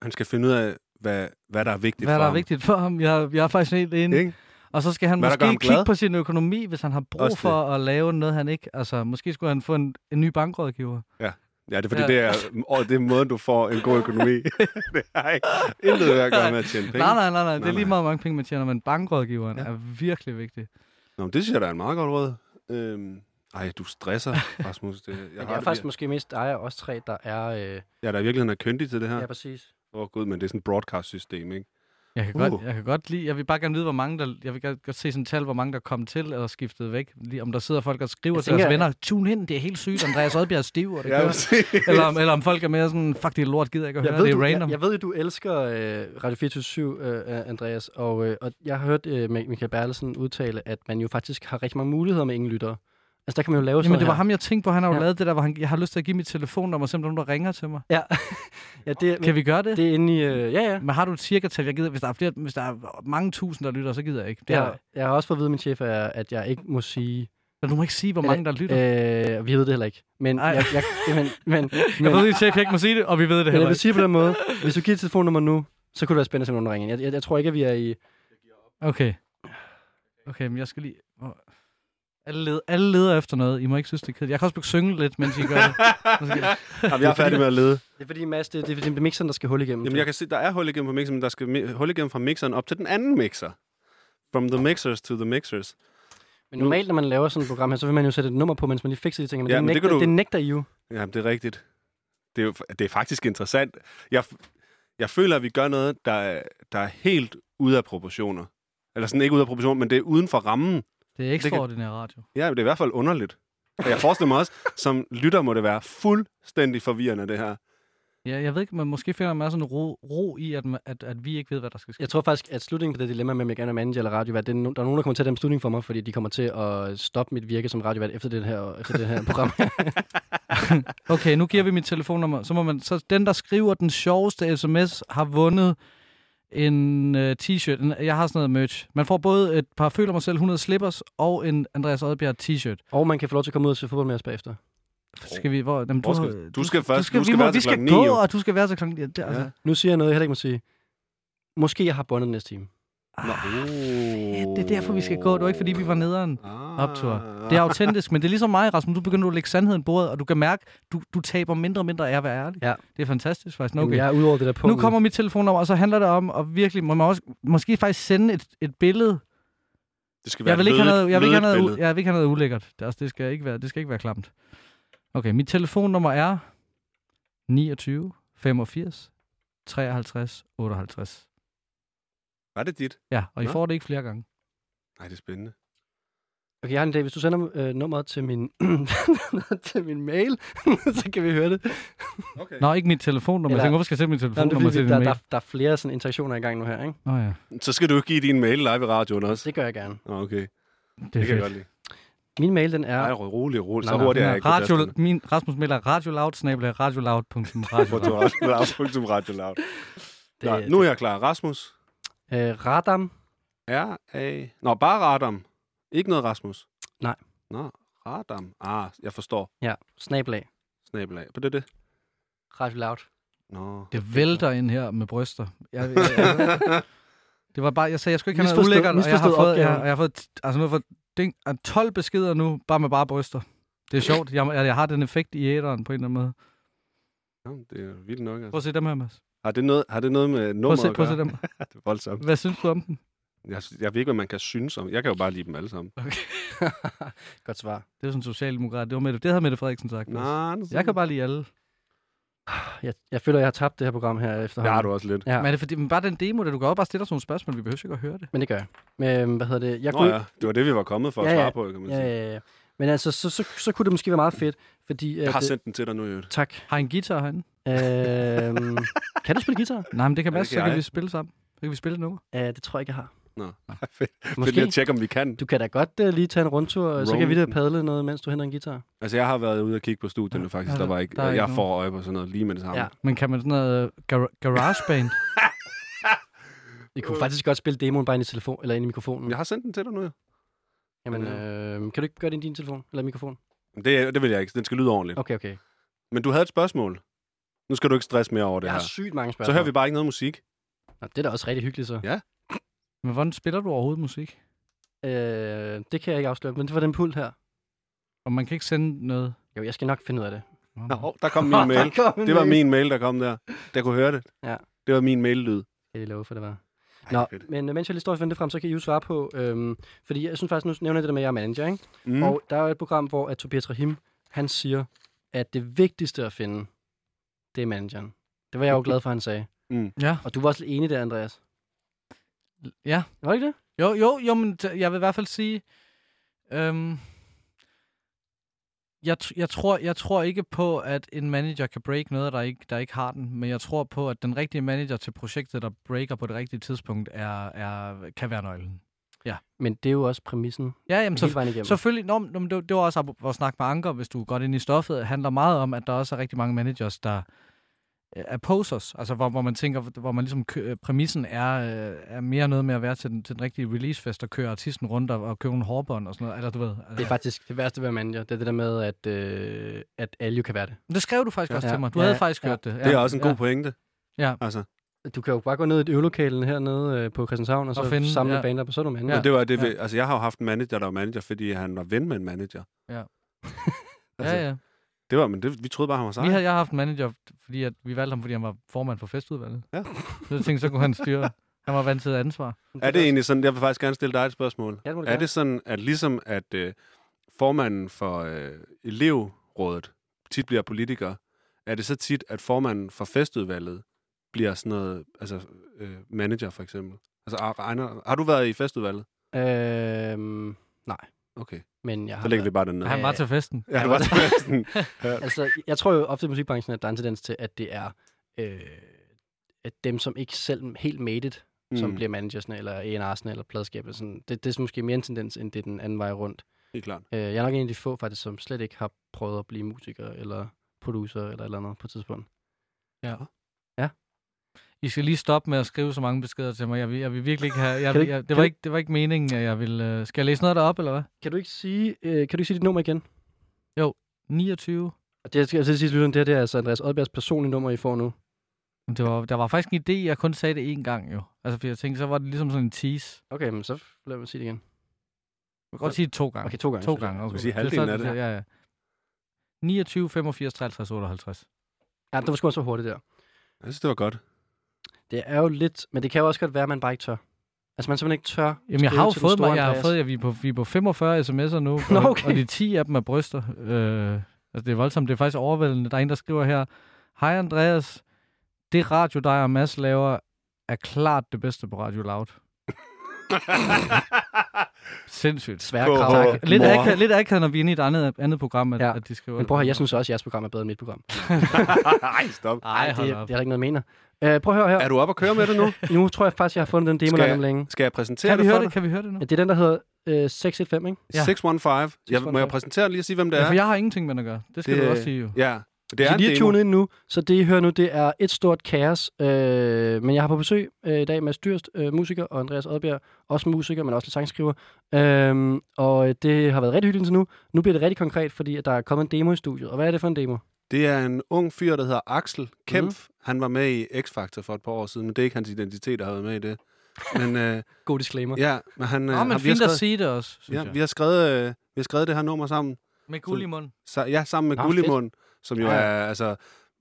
Han skal finde ud af, hvad, hvad der er vigtigt
hvad
for
der er
ham.
vigtigt for ham? Jeg, jeg er faktisk helt enig.
Ikke?
Og så skal han
Hvad der gør ham
måske kigge
glad?
på sin økonomi, hvis han har brug
Også det.
for at lave noget, han ikke... Altså, måske skulle han få en, en ny bankrådgiver.
Ja, det er fordi,
Ja.
ja. det, er, åh, det er måden, du får en god
<laughs>
økonomi. det har ikke intet at gøre med at tjene penge.
Nej, nej, nej, nej. Det er
Nej,
lige
nej.
meget, hvor mange penge man tjener, men bankrådgiveren
Ja.
ja. er virkelig vigtig.
Nå, men det synes jeg, der er en meget godt råd. Øhm, ej, du <laughs> stresser, Rasmus. Det, jeg,
Men det
har
er
det,
faktisk
faktisk...
måske mest dig og os tre, der er... Øh,
jeg, er da virkelig er køndig til det her.
ja.
Åh
ja, præcis.
oh, gud, men det er sådan et broadcast-system, ikke?
Jeg kan,
Uh.
uh. godt, jeg kan godt lide, jeg vil bare gerne vide, hvor mange der, jeg vil gerne godt se sådan et tal, hvor mange der kom til eller skiftede væk. Lige om der sidder folk og skriver
Jeg
til deres
tænker,
venner, tune ind, det er helt sygt, Andreas Oddbjerg er stiv, og det
Ja,
kører.
<laughs> præcis.
Eller om, eller om folk er mere sådan, fuck det er lort, gider jeg ikke at
Jeg
høre,
ved,
det er
du, jeg,
random.
jeg ved jo, du elsker øh, Radio 24 øh, Andreas, og, øh, og jeg har hørt øh, Mi- Michael Berlesen udtale, at man jo faktisk har rigtig mange muligheder med ingen lyttere. Altså, der kan man jo lave sådan
Jamen, det var
noget
ham, jeg tænkte på. Han har jo
Ja.
ja. lavet det der, hvor han, jeg har lyst til at give mit telefonnummer, selvom der er nogen, der ringer til mig.
her. Ja, ja det,
Kan vi gøre det?
det er inde i... Øh, ja, ja.
Men har du et cirka-tal? Jeg gider, hvis der er, flere, hvis der er mange tusind, der lytter, så gider jeg ikke. Det
Jeg,
er, der
har- jeg har også fået at vide af min chef, er, at jeg ikke må sige...
Men du må ikke sige, hvor
Eller-
mange, der lytter. Øh,
Øh, vi ved det heller ikke. Men,
Ej.
jeg, jeg, men, men, men,
<laughs> jeg ved, at chef ikke må sige det, og vi ved det
men
heller
jeg vil
ikke.
sige på den måde, hvis du giver et telefonnummer nu, så kunne det være spændende, at nogen ringer ind. Jeg, jeg, jeg tror ikke, at vi er i...
Okay. Okay, men jeg skal lige... hvor- Alle, led, alle leder efter noget. I må ikke synes, det er kedeligt. Jeg kan også begynde at synge lidt,
<laughs>
mens I gør det.
Jamen, jeg er færdig med at lede.
Det er fordi, Mads, det, det, er, det er mixeren, der skal hul igennem.
Jamen, jeg kan se, der er hul igennem på mixeren, men der skal mi- hul igennem fra mixeren op til den anden mixer. From the mixers to the mixers.
Men normalt, når man laver sådan et program her, så vil man jo sætte et nummer på, mens man lige fikser de ting. Men,
Ja,
det,
men det
nægter,
kan du-
det nægter I jo.
Jamen, det er rigtigt. Det er, jo, det er faktisk interessant. Jeg, f- jeg føler, at vi gør noget, der, er- der er helt ude af proportioner. Eller sådan ikke ude af proportioner, men det er uden for rammen.
Det er ekstraordinær radio.
Ja, det er i hvert fald underligt. Og jeg forestiller mig også, som lytter må det være fuldstændig forvirrende, det her.
Ja, jeg ved ikke, men måske finder man sådan en ro, ro i, at, ma- at, at vi ikke ved, hvad der skal ske.
Jeg tror faktisk, at slutningen på det dilemma med, om jeg gerne vil manager eller radiovært, det er, no- der er nogen, der kommer til at tage den slutning for mig, fordi de kommer til at stoppe mit virke som radiovært efter det her, efter det <laughs> her program.
Okay, nu giver vi mit telefonnummer. Så må man, så den, der skriver den sjoveste sms, har vundet en øh, t-shirt. En, jeg har sådan noget merch. Man får både et par Føler mig selv 100 slippers og en Andreas Oddbjerg t-shirt.
og man kan få lov til at komme ud og se fodbold med os bagefter.
Skal vi, hvor, jamen,
Hvor
du,
skal- du skal først- du
vi
skal
må-
være til
vi skal
klokken ni,
gå,
jo.
og du skal være til klokken 9. Det, er altså,
Ja.
Nu siger jeg noget, jeg heller ikke må sige. Måske jeg har bondet næste time.
Nå.
fedt, Ah, det er derfor, vi skal gå. Det var ikke, fordi vi var nederen.
Ah.
Optur. Det er autentisk, men det er ligesom mig, Rasmus. Du begynder at lægge sandheden på bordet, og du kan mærke, du, du taber mindre og mindre af at være ærlig.
Ja.
Det er fantastisk faktisk. Nå,
Jamen,
Okay.
Jeg er ude over det der punkt.
Nu kommer mit telefonnummer, og så handler det om at virkelig, må man også, måske faktisk sende et, et billede.
Det skal være
Jeg vil, ikke have
lødigt-
noget, jeg, vil ikke
lødigt
have noget,
billede.
u- jeg vil ikke have noget ulækkert. Det, er også, det, skal ikke være, det skal ikke være klamt. Okay, mit telefonnummer er 29 85 53 58.
Var det dit?
Ja, og I
Nå.
får det ikke flere gange.
Nej, det er spændende.
Okay, jeg har en dag. Hvis du sender øh, nummeret til min, <laughs> til min mail, <laughs> så kan vi høre det.
Okay.
Nå, ikke mit telefonnummer.
Eller-
Jeg tænker, hvorfor skal jeg sætte mit
Nå, men det er,
telefonnummer
fordi,
til
vi-
din
der,
mail?
der, der, er flere sådan, interaktioner i gang nu her, ikke?
Nå ja,
Så skal du ikke give din mail live i radioen også.
Det gør jeg gerne.
Nå, Okay, det,
det er
kan jeg
fedt.
godt lide.
Min mail, den
Nej,
er...
rolig, rolig.
Nej,
Så
nej,
hurtigt er jeg
Ja,
ikke på
radio,
tasterne.
min Rasmus Miller, radioloud, snabel, radioloud.
På radio- Radio Loud.
Det,
Nå, nu er jeg klar. Rasmus
øh, Radam.
er A... Nå, bare Radam. Ikke noget Rasmus.
Nej.
Nå, Radam. Ah, jeg forstår.
Ja, snablag.
Snabelag. På det det?
Radio Loud. <laughs>
Nå.
Det vælter ind her med bryster. Jeg, jeg, jeg,
<laughs>
det var bare, jeg sagde, jeg skulle ikke have noget
Misforstået-
ulækkert, og jeg har
misforstået
fået, jeg,
opgaven.
og jeg har fået t- altså nu har jeg fået ding, ah, 12 beskeder nu, bare med bare bryster. Det er sjovt. Jeg, altså, jeg, jeg har den effekt i æderen på en eller anden måde.
Nå, det er vildt nok.
Prøv
Altså.
at se dem her, Mads.
Har, det noget, har det noget med
Prøv
nummer
at se,
at
prøv at se
gøre?
dem.
Det er voldsomt.
Hvad synes du om den?
Jeg, jeg ved ikke, hvad man kan synes om. Jeg kan jo bare lide dem alle sammen.
Godt svar.
Det er sådan en socialdemokrat. Det, var Mette, det havde Mette Frederiksen sagt. også.
Nej, det
Jeg kan bare lide alle.
Jeg, jeg føler, jeg har tabt det her program her
Det har
efterhånden.
du også lidt.
Ja,
Men er det fordi, men bare den demo, der du går op og bare stiller sådan nogle spørgsmål, vi behøver ikke at høre det.
men det gør jeg. Men, øh, hvad hedder det? Jeg
Nå ja, det var det, vi var kommet for at
Ja, ja.
svare på, kan man
ja,
sige.
ja, ja. Men altså, så, så, så kunne det måske være meget fedt, fordi... Øh,
Jeg har
det,
sendt den til dig nu, Jørgen.
tak.
Har I en guitar herinde?
Øh, <laughs> kan du spille guitar?
Nej, men det kan
Ja, det
Mads,
kan
så kan
jeg.
vi spille sammen. Så kan vi spille nu.
Øh, det tror jeg ikke, jeg har.
Måske. Det er lige
Måske.
at tjekke, om vi kan.
Du kan da godt øh, lige tage en rundtur, og så kan vi da
Roaming.
padle noget, mens du henter en guitar.
Altså, jeg har været ude og kigge på studierne, faktisk.
Ja,
Der var ikke,
der er ikke
jeg
nogen.
får øje på sådan noget lige med det samme.
Ja.
Ja.
Men kan man sådan noget øh, gar- garageband?
Vi kunne
Øh.
faktisk godt spille demoen bare ind i, telefon, eller ind i mikrofonen.
Jeg har sendt den til dig nu, jo.
Jamen,
den
øh, kan du ikke gøre det ind i din telefon? Eller mikrofon?
Det, det vil jeg ikke. Den skal lyde ordentligt.
Okay, okay.
Men du havde et spørgsmål. Nu skal du ikke stresse mere over det
Jeg
her.
har sygt mange
Så
spørgsmål.
hører vi bare ikke noget musik.
Nå, det er da også rigtig hyggeligt, så.
Men hvordan spiller du overhovedet musik?
Øh, det kan jeg ikke afsløre, men det var den pult her.
Og man kan ikke sende noget.
Jo, jeg skal nok finde ud af det.
Nå,
Nå,
nå.
hov, der
<laughs>
kom min mail.
Der kom en
Det var
mail.
min mail, der kom der. Der kunne høre det.
Ja.
Det var min mail-lyd.
Kan jeg love for, det var.
Ej,
Nå,
fedt.
men øh, mens jeg lige står og finder det frem, så kan I jo svare på, øhm, fordi jeg synes faktisk, nu nævner jeg det der med, at jeg er manager, ikke?
Mm.
Mm. Og der er jo et program, hvor at Tobias Rahim, han siger, at det vigtigste at finde, det er manageren. Det var jeg jo glad for, han sagde.
mm.
Ja.
Og du var også lidt enig der, Andreas.
ja.
Var det ikke det?
Jo, jo, jo, men t- jeg vil i hvert fald sige... Øhm, jeg, t- jeg, tror, jeg tror ikke på, at en manager kan break noget, der ikke, der ikke har den. Men jeg tror på, at den rigtige manager til projektet, der breaker på det rigtige tidspunkt, er, er, kan være nøglen. Ja.
Men det er jo også præmissen
Ja, jamen,
hele
så,
vejen igennem.
selvfølgelig. Nå, men nå, men det, det var også ap- vores snak med Anker, hvis du går godt ind i stoffet, handler meget om, at der også er rigtig mange managers, der øh, er posers, altså hvor, hvor man tænker, hvor man ligesom kø- øh, præmissen er, øh, er mere noget med at være til den, til den rigtige releasefest og køre artisten rundt og, og købe nogle hårbånd og sådan noget, eller du ved. Altså.
Det er faktisk det værste ved at være manager, det er det der med, at, øh, at alle jo kan være det.
Det skrev du faktisk
Ja.
også til mig. Du
Ja,
havde
ja,
faktisk
ja.
hørt det. Ja,
Det er også en god
ja.
pointe.
Ja.
Altså,
Du kan jo bare gå ned i et øvelokalen hernede øh, på Christianshavn, og så
Og finde-
samle
ja.
ja. bander på, så er du manager.
Ja.
Ja.
Men det var det,
Ja.
ja. altså jeg har jo haft en manager, der var manager, fordi han var ven med en manager.
Ja.
altså,
Ja, ja.
Det var, men det, vi troede bare, han var sej.
Vi havde, jeg har haft en manager, fordi at, vi valgte ham, fordi han var formand for festudvalget.
Ja.
Så jeg tænkte, så kunne han styre. Han var vant til ansvar.
Er det egentlig sådan, jeg vil faktisk gerne stille dig et spørgsmål.
Ja, det må du
er
gerne.
det sådan, at ligesom at øh, formanden for øh, elevrådet tit bliver politiker, er det så tit, at formanden for festudvalget bliver sådan noget, altså øh, manager for eksempel? Altså, har- regner, har du været i festudvalget?
Øhm,
Okay,
men jeg
så
har...
lægger vi bare den ned.
Han var til festen.
Ja, det var til <laughs> festen.
<laughs>
Altså, jeg tror jo ofte i musikbranchen, at der er en tendens til, at det er øh, at dem, som ikke selv helt made it, mm. som
Mm.
bliver managersne, eller A&R'sne, eller pladskabet. Sådan. Det, det er måske mere en tendens, end det er den anden vej rundt.
Helt klart.
Øh, jeg er nok en af de få, faktisk, som slet ikke har prøvet at blive musiker, eller producer, eller et eller andet på et tidspunkt.
I skal lige stoppe med at skrive så mange beskeder til mig. Jeg vil, jeg vil virkelig ikke have... Jeg,
Kan du
jeg,
ikke-
jeg, det,
kan
var
du-
ikke, det var ikke meningen, at jeg ville... øh, Skal jeg læse noget derop, eller hvad?
Kan du ikke sige, øh, kan du ikke sige dit nummer igen?
29.
Og det, jeg skal til at sige til lytteren, det her det er altså Andreas Oddbjergs personlige nummer, I får nu.
Men Det var, der var faktisk en idé, jeg kun sagde det én gang jo. Altså, fordi jeg tænkte, så var det ligesom sådan en tease.
Okay, men så lad mig sige det igen.
Jeg kan godt sige det to gange.
Okay, to gange.
To gange, okay.
sige
Det er
halvdelen
sådan,
af det.
Ja, ja. 29, 85, 53, 58.
Ja, det var sgu også for hurtigt der.
Jeg synes, det var
<laughs>
godt.
Det er jo lidt, men det kan jo også godt være, at man bare ikke tør. Altså, man simpelthen ikke tør.
Jamen, jeg
skrive
har jo
til den
fået
store
mig, jeg har
Andreas.
fået, ja, vi, er på, vi er på 45 sms'er nu,
<laughs> Nå,
og,
okay.
og de 10 af dem er bryster. Øh, altså, det er voldsomt, det er faktisk overvældende. Der er en, der skriver her, Hej Andreas, det radio, dig og Mads laver, er klart det bedste på Radio Loud. Sindssygt.
Svære
Gå
krav.
hårdt.
Tak.
Lidt
Mor.
akavet, lidt akavet, når vi er inde i et andet, andet program, at,
Ja.
ja. at de skriver.
Men prøv at høre, jeg synes også, at jeres program er bedre end mit program.
Ej, stop.
Ej,
det,
hold
det er
op.
der ikke noget, jeg mener. Øh, prøv at høre
Er
her.
du op at køre med det nu?
Nu tror jeg faktisk, jeg har fundet den demo,
Skal
der
jeg-
er længe.
Skal jeg præsentere
Kan vi
det for
høre
dig?
det? Kan vi høre det nu?
Ja, det er den, der hedder øh, 615, ikke?
Ja.
615. Jeg, må jeg
615.
præsentere lige og sige, hvem det
Ja,
er?
for jeg har ingenting med den at gøre. Det skal
Det-
det... du også sige jo.
Ja, det
Det
er
er
en
lige
demo.
tunet ind nu, så det, I hører nu, det er et stort kaos. Øh, men jeg har på besøg øh, i dag Mads Dyrst, øh, musiker, og Andreas Oddbjerg, også musiker, men også lidt sangskriver. Øh, og øh, det har været rigtig hyggeligt indtil nu. Nu bliver det rigtig konkret, fordi at der er kommet en demo i studiet. Og hvad er det for en demo?
Det er en ung fyr, der hedder Axel Kempf.
Mhm.
Mm. Han var med i X-Factor for et par år siden, men det er ikke hans identitet, der har været med i det. Men
<laughs>
øh,
God disclaimer.
ja, men han...
Nå,
har-
men
vi har
fint at
skrevet,
sige det også, synes
ja,
jeg.
vi har skrevet, øh, vi har skrevet det her nummer sammen.
Med guld i munden.
Så, ja, sammen med
Nå,
Gullimund, som jo
Ja,
er...
ja.
Altså,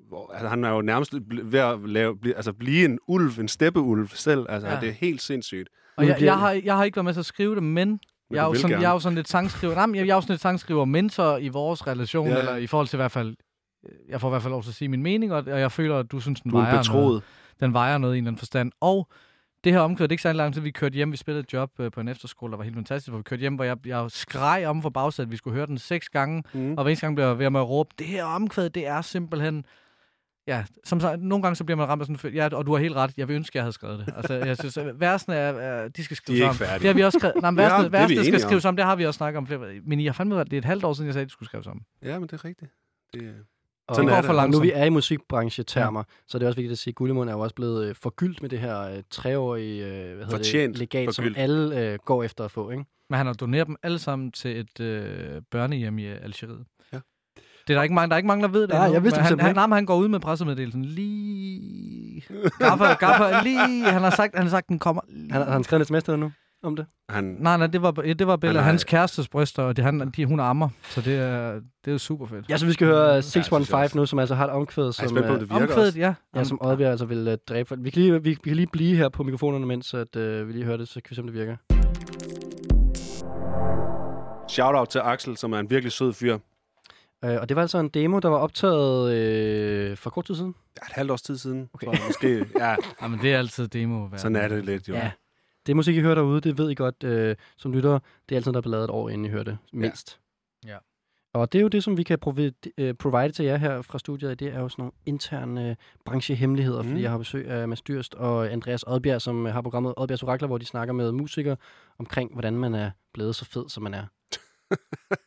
hvor- altså, han er jo nærmest bl- ved at lave, bli, altså, blive en ulv, en steppeulv selv. Altså,
Ja.
ja. det er helt sindssygt.
Og
Nu
jeg,
bliver
jeg,
det-
har, jeg har ikke været med til at skrive det, men,
Men
jeg, er
du
jo
vil
sådan,
gerne.
jeg er jo sådan lidt sangskriver. Nej, men jeg, jeg er jo sådan lidt sangskriver mentor i vores relation,
Ja,
ja,
ja.
ja. eller i forhold til i hvert fald, øh, jeg får i hvert fald lov til at sige min mening, og, og jeg føler, at du synes, den
Du er en
vejer, noget,
betroet.
den vejer noget i en eller anden forstand. Og det her omkørt, det er ikke særlig lang tid, vi kørte hjem, vi spillede et job øh, på en efterskole, der var helt fantastisk, hvor vi kørte hjem, hvor jeg, jeg skreg om for bagsædet, at vi skulle høre den seks gange,
Mm.
og hver eneste gang bliver jeg ved med at råbe, det her omkvæd, det er simpelthen... Ja, som så, nogle gange så bliver man ramt af sådan en føl- ja, og du har helt ret, jeg vil ønske, jeg havde skrevet det. Altså, jeg synes, at versene er, er, de skal skrives
De er
om.
ikke færdige.
Det har vi også skrevet. Nej,
<laughs>
men
Ja,
versene,
det er vi
versene
enige
skal
om.
skrives om, det har vi også snakket om flere. Men I har fandme ret, det er et halvt år siden, jeg sagde, at de skulle skrives om.
Ja, men det er rigtigt. Det er...
Og,
Sådan er
og
det.
for langt, nu vi er i musikbranchetermer, ja. så er det også vigtigt at sige, at Gullimund er jo også blevet øh, forgyldt med det her øh, treårige øh, hvad hedder
Fortjent
det, legat,
forgyldt.
som alle øh, går efter at få. Ikke?
Men han har doneret dem alle sammen til et øh, børnehjem i øh, Algeriet.
Ja.
Det er der ikke mange, der er ikke mange, der ved det.
Nej,
endnu,
jeg vidste
men
det
han,
simpelthen
han, nej, men han går ud med pressemeddelelsen lige... Gaffer, gaffer, lige... Han har sagt, han har sagt den kommer lige...
Han, har han skrevet en sms til dig nu om det?
Han,
Nej, nej, det var, ja, det var billedet af
har-
hans kærestes bryster, og det, han, de, hun ammer, så det er, det er jo super fedt.
Jeg synes, vi skal høre øh,
jeg
615
også.
nu, som altså har et omkvæd, som,
spændt på, om
øh,
det virker
Omkvædet,
også.
ja.
ja, som Oddbjerg altså vil øh, dræbe. folk. Vi kan, lige, vi, vi kan lige blive her på mikrofonerne, mens at, øh, vi lige hører det, så kan vi se, om det virker.
Shout-out til Axel, som er en virkelig sød fyr.
Øh, og det var altså en demo, der var optaget øh, for kort tid siden.
Ja, et halvt års tid siden.
Okay.
Okay. Så måske, <laughs> ja,
Jamen, det er altid demo. -verden.
sådan er det lidt, jo. Ja.
Det musik, I hører derude, det ved I godt øh, som lyttere. Det er altid, der er blevet lavet et år, inden I hører det, mindst.
Ja.
Og det er jo det, som vi kan provide, øh, provide til jer her fra studiet. Det er jo sådan nogle interne øh, branchehemmeligheder, mm. fordi
Mm.
jeg har besøg af Mads Dyrst og Andreas Odbjerg, som øh, har programmet Odbjergs Orakler, hvor de snakker med musikere omkring, hvordan man er blevet så fed, som man
<laughs>
er.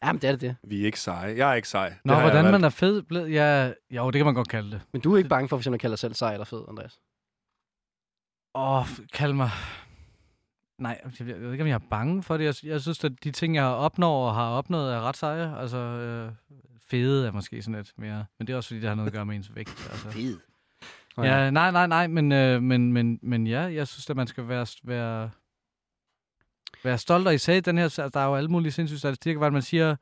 Jamen, det er det, det.
Vi er ikke seje. Jeg er ikke sej.
Nå, hvordan man er fed blevet... Ja, jo, det kan man godt kalde det.
Men du er ikke bange for, for eksempel, at kalde dig selv sej eller fed, Andreas?
Åh, oh, kald mig... Nej, jeg ved jeg ved ikke, om jeg er bange for det. Jeg, jeg synes, at de ting, jeg opnår og har opnået, er ret seje. Altså, øh, fede er måske sådan lidt mere... Men det er også, fordi det har noget at gøre med ens vægt. Altså.
Fed.
Ja, nej, nej, nej, men, øh, men, men, men ja, jeg synes, at man skal være, være, være stolt, og især i den her, altså, der er jo alle mulige sindssyge statistikker, hvor man siger,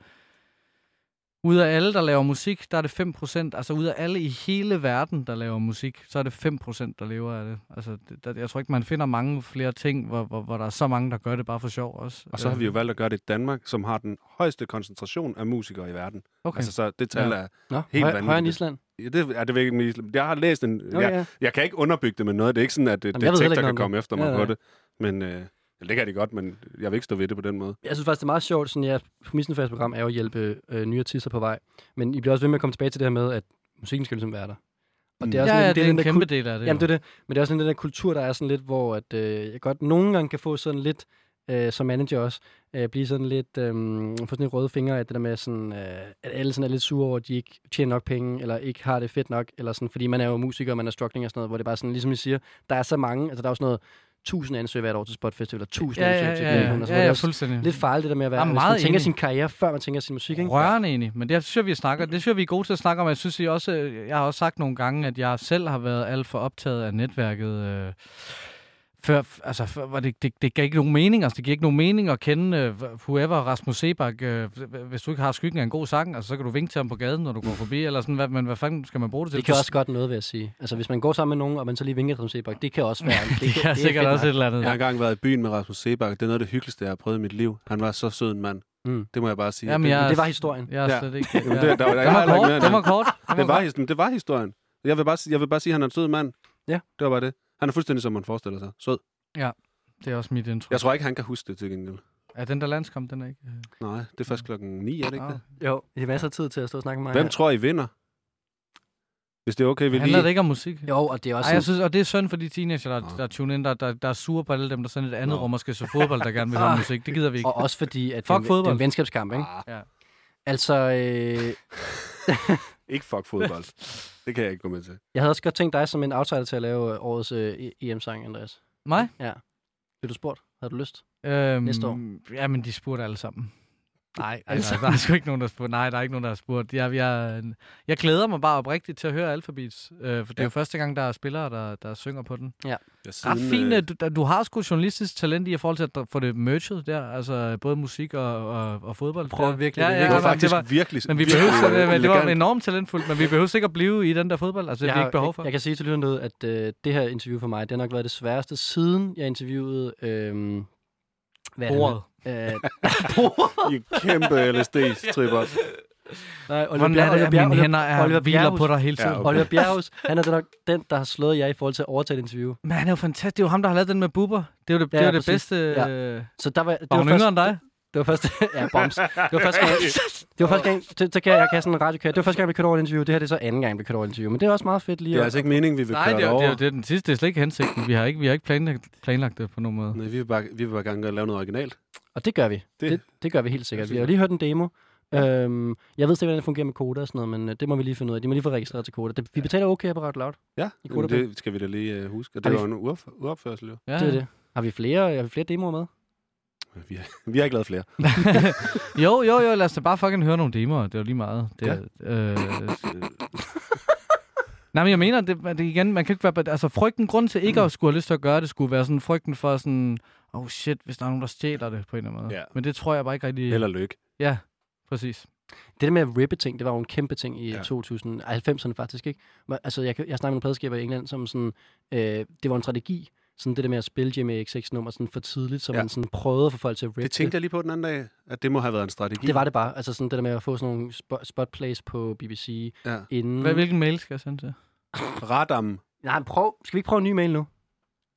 ud af alle, der laver musik, der er det 5%, altså ud af alle i hele verden, der laver musik, så er det 5%, der lever af det. Altså, det, der, jeg tror ikke, man finder mange flere ting, hvor, hvor, hvor der er så mange, der gør det bare for sjov også.
Og så har
Øh,
vi jo valgt at gøre det i Danmark, som har den højeste koncentration af musikere i verden. Okay.
Øh, Okay.
Altså, så det tal
Ja.
er...
Nå,
Helt
Helt høj,
vanvittigt.
højere end Island.
Ja, det er det virkelig min islam. Jeg har læst en...
Nå,
Okay. Jeg, jeg kan ikke underbygge det med noget. Det er ikke sådan, at øh,
Jamen, jeg ved heller
detektor
ikke
kan
noget om
komme efter
Ja,
mig på
ja.
det. Men... Øh, ja, det kan de godt, men jeg vil ikke stå ved det på den måde.
Jeg synes faktisk, det er meget sjovt. Sådan, ja, præmissen for jeres program er jo at hjælpe øh, nye artister på vej. Men I bliver også ved med at komme tilbage til det her med, at musikken skal ligesom være der. Og det er
Mm. Ja,
også
ja,
lidt-
det er
den
en
der
kæmpe del af det.
Jamen,
jo.
det er det. Men det er også sådan den der kultur, der er sådan lidt, hvor at, øh, jeg godt nogle gange kan få sådan lidt, øh, som manager også, øh, blive sådan lidt, øh, få sådan lidt røde fingre af det der med, sådan, øh, at alle sådan er lidt sure over, at de ikke tjener nok penge, eller ikke har det fedt nok, eller sådan, fordi man er jo musiker, og man er struggling og sådan noget, hvor det bare sådan, ligesom I siger, der er så mange, altså der er jo sådan noget, 1000 ansøgere hvert år til Spot Festival, og 1000
ja,
ansøgere
ja,
til
ja, ja,
Greenhorn, og sådan noget. Det
ja,
er
ja,
også
fuldstændig.
Lidt farligt det der med at være,
Jeg er
at man
meget
tænker
enig.
sin karriere, før man tænker sin musik, ikke?
Rørende egentlig, men det synes jeg, vi snakker, det synes jeg, vi er gode til at snakke om. Jeg synes I også, øh, jeg har også sagt nogle gange, at jeg selv har været alt for optaget af netværket. Øh, før, altså, før, var det, det, det gav ikke nogen mening, altså, det giver ikke nogen mening at kende øh, whoever Rasmus Sebak, øh, hvis du ikke har skyggen af en god sang, altså, så kan du vinke til ham på gaden, når du går forbi, eller sådan, hvad, men hvad fanden skal man bruge det til?
Det kan også godt noget, vil jeg sige. Altså, hvis man går sammen med nogen, og man så lige vinker til dem, Sebak, det kan også være. det,
<laughs> det kan
er
sikkert
fedt
også
nok.
et eller andet.
Jeg har
Ja.
engang været i byen med Rasmus Sebak. Det er noget af det hyggeligste, jeg har prøvet i mit liv. Han var så sød en mand.
Mm.
Det må jeg bare sige.
Jamen,
det,
jeg-
Men det var historien.
Jeg er
Ja.
slet ikke...
<laughs> Jamen, det- der- der- jeg
den
har heller ikke
var
mere end
kort, den
det.
var kort. den
det,
var
var,
kort.
his- det var historien. Jeg vil, bare, sige- jeg vil bare sige, at han er en sød mand.
Ja.
Det var bare det. Han er fuldstændig, som man forestiller sig. Sød.
Det er også mit indtryk.
Jeg tror ikke, han kan huske det til gengæld.
Er den der landskamp, den er ikke... øh,
Nej, det er først klokken 9, er det ikke
ah.
det?
Jo, I har masser af tid til at stå og snakke med mig.
Hvem
her.
tror I vinder? Hvis det er okay, vi
Handler det
lige...
ikke om musik?
Jo, og det er også
Ej, jeg
sådan,
synes, og det er synd for de teenager, der,
Nå.
der er tunet ind, der, der, der er sure på alle dem, der sender et andet
Nå.
rum og skal se fodbold, der gerne vil høre
Ah.
musik. Det gider vi ikke.
og også fordi, at
Fuck
det, er en, det er en
fodbold.
venskabskamp, ikke?
Ah,
Altså, øh,
ikke fuck fodbold. det kan jeg ikke gå med til.
jeg havde også godt tænkt dig som en outsider til at lave øh, årets øh, E- EM-sang, Andreas.
Mig?
Blev du spurgt? Havde du lyst?
Øhm,
Næste år.
Ja, men de spurgte alle sammen. Nej, altså, der er sgu ikke nogen, der har spurgt. Nej, der er ikke nogen, der har spurgt. Jeg, jeg, øh, jeg glæder mig bare oprigtigt til at høre Alphabets, øh, for det er jo første gang, der er spillere, der, der synger på den.
Jeg øh,
Ret
øh,
fine. Du, der- du har sgu journalistisk talent i i forhold til at få det merged der, altså både musik og, og, og fodbold.
Prøver
der.
virkelig,
ja,
det er
ja,
det var
ja,
faktisk
faktisk... Det var,
virkelig
men vi
virkelig,
behøvede,
øh,
men det var
elegant.
enormt talentfuldt, men vi behøver ikke at blive i den der fodbold. Altså, det er vi
har-
ikke behov for.
Jeg, jeg kan sige til lytterne, derude, at øh, det her interview for mig, det har nok været det sværeste, siden jeg interviewede... Øh, hvad er det,
bordet.
han hedder? Øh,
I er kæmpe
<laughs>
LSD-tripper.
nej, Oliver
Hvordan er
Bjerg,
det,
Oliver
at mine
Bjerg,
hænder er,
Oliver
hviler
Bjerghus.
på dig hele tiden?
Ja,
Ja,
okay.
okay.
Oliver Bjerghus, han er da nok den, der har slået jer i forhold til at overtage et interview.
Men han er jo fantastisk. Det er jo ham, der har lavet den med Bubber. Det er jo det,
Ja,
ja, det, er jo det
præcis.
bedste.
Ja.
Ja.
Så der var, det
Var
var
hun
først-
yngre end dig?
Det var første... <laughs> ja, bombs. Det var første gang...
<laughs>
Det var første gang... Så, så kan jeg, jeg kan sådan en radiokære. Det var første gang, vi kørte over et interview. Det her det er så anden gang, jeg blev kørt over et interview. Men det er også meget fedt lige
Det er altså ikke meningen, vi vil
Nej,
køre
det er,
det
jo- det, er,
over.
jo- det er den sidste. Det er slet ikke hensigten. Vi har ikke, vi har ikke planlagt, planlagt det på nogen måde.
Nej, vi vil bare, vi vil bare gerne lave noget originalt.
altså-
Og det gør vi. Det,
Det-
det, det gør vi helt sikkert.
synes
Vi har jo
jeg.
lige hørt en demo. Øhm, jeg ved ikke, hvordan det fungerer med koder og sådan noget, men øh, det må vi lige finde ud af. De må lige få registreret til koder. Det, vi betaler okay på Radio Loud.
Ja,
I
jamen,
Kodabu.
det skal vi da lige øh, huske. Og
Har
det
vi-
var en uop- uopførsel, jo.
Ja.
Det er det. Har vi flere, har vi flere demoer med?
Vi har, vi har ikke lavet flere.
<laughs> jo, jo, jo. Lad os da bare fucking høre nogle demoer. Det er jo lige meget. Det,
Ja.
ja. øh, s- Nej, men jeg mener, det, det igen, man kan ikke være... Altså, frygten, grund til
Mm.
ikke at skulle have lyst til at gøre det, skulle være sådan frygten for sådan... Oh shit, hvis der er nogen, der stjæler det på en eller anden måde.
Ja.
Men det tror jeg bare ikke rigtig...
Held og lykke.
Ja, præcis.
Det der med at rippe ting, det var jo en kæmpe ting i ja.
Ja.
2090'erne faktisk, ikke? Hvor- Altså, jeg, kan- jeg snakkede med nogle pladskaber i England, som sådan, øh, det var en strategi, sådan det der med at spille Jimmy XX nummer sådan for tidligt, så ja.
Ja.
man sådan prøvede at få folk til at rippe
Det tænkte jeg lige på den anden dag, at det må have været en strategi.
Det var det bare. Altså sådan det der med at få sådan nogle spo- spot plays på BBC
Ja.
inden...
Hvad, hvilken mail skal jeg sende til?
Radam.
Nej, men prøv. Skal vi ikke prøve en ny mail nu?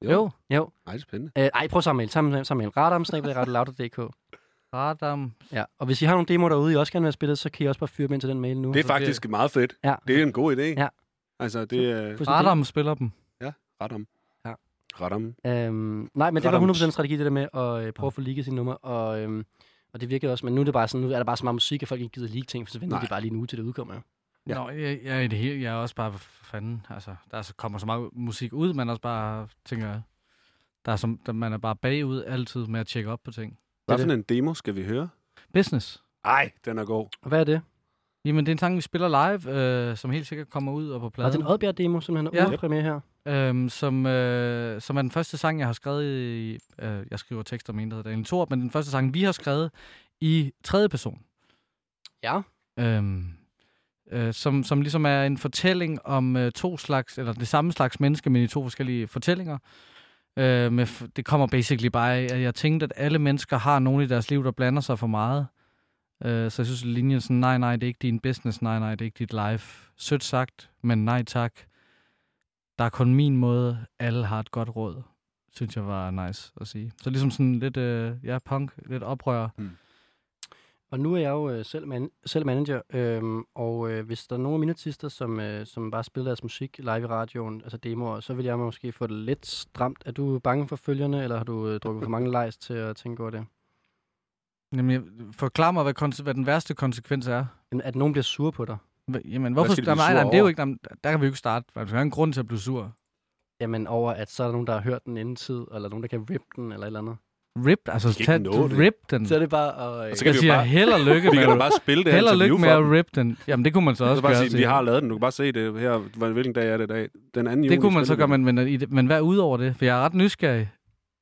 Jo.
Jo.
Jo.
Ej, det er spændende.
Øh, ej, prøv samme mail. Samme, samme mail. Radamsnabel.dk
Radam.
Ja. Og hvis I har nogle demoer derude, I også gerne vil have spillet, så kan I også bare fyre dem ind til den mail nu. Altså,
Det er faktisk meget fedt.
Ja.
Det er en god idé.
Ja.
Altså, det er
Fuldstændig.
Radam spiller dem.
ret om.
Ja.
Ret om.
Øhm, nej, men det var
Radam.
100% strategi, det der med at øh, prøve at få ligget sine numre, og, øhm, og det virkede også, men nu er, det bare sådan, nu er der bare så meget musik, at folk ikke gider leak ting, for så venter
Nej.
de bare lige en uge til det udkommer. jo.
Ja.
Ja. Nå, jeg, jeg, er i det hele, jeg er også bare, for fanden, altså, der er så, kommer så meget musik ud, man også bare tænker, der er som, der, man er bare bagud altid med at tjekke op på ting.
Hvad
Det er
for en demo skal vi høre?
Business.
Ej, den er god.
Og hvad er det?
Jamen, det er en sang, vi spiller live, øh, som helt sikkert kommer ud og på
Var det
pladen.
en Oddbjerg-demo, som han
Ja.
ja. premiere her?
øhm, som, øh, som er den første sang, jeg har skrevet i... Øh, jeg skriver tekster om en, der hedder Daniel Thor, men den første sang, vi har skrevet i tredje person.
Ja.
Øhm, øh, som, som ligesom er en fortælling om øh, to slags, eller det samme slags menneske, men i to forskellige fortællinger. Øh, med, f- det kommer basically bare af, at jeg tænkte, at alle mennesker har nogen i deres liv, der blander sig for meget. Øh, så jeg synes, at linjen sådan, nej, nej, det er ikke din business, nej, nej, det er ikke dit life. Sødt sagt, men nej tak. Der er kun min måde, alle har et godt råd, synes jeg var nice at sige. Så ligesom sådan lidt, øh, ja, punk, lidt oprør.
Og nu er jeg jo øh, selv, man- selv manager, øhm, og øh, hvis der er nogen af mine artister, som, øh, som bare spiller deres musik live i radioen, altså demoer, så vil jeg måske få det lidt stramt. Er du bange for følgerne, eller har du øh, drukket for mange lejs til at tænke over det?
Jamen, jeg, forklar mig, hvad, konse- hvad den værste konsekvens er.
Jamen, At nogen bliver sure på dig?
Hva- Jamen, hvorfor...
skal de blive
Jamen, nej,
sure
nej, det er jo
over?
ikke... Jamen, der kan vi jo ikke starte. Der er en grund til at blive sur.
Jamen over, at så er der nogen, der har hørt den inden tid, eller nogen, der kan rip den, eller et eller andet.
Rip, altså,
kan ikke
tag,
nå det.
rip den.
Så er det bare at... Øh,
Og så kan
Jeg
vi jo
siger,
bare-
held Mm. og lykke
Vi
med,
kan da bare spille det her
held og lykke
interview
med
for dem.
at rip den. Jamen, det kunne man så
Og
også
så bare
gøre.
sige,
siger
vi
jeg.
har lavet den. Du kan bare se det her. Hvor- Hvilken dag er det i dag? Den anden juni
det kunne man så
spiller
gøre,
vi
men, men, i det- men hvad udover det? For jeg er ret nysgerrig.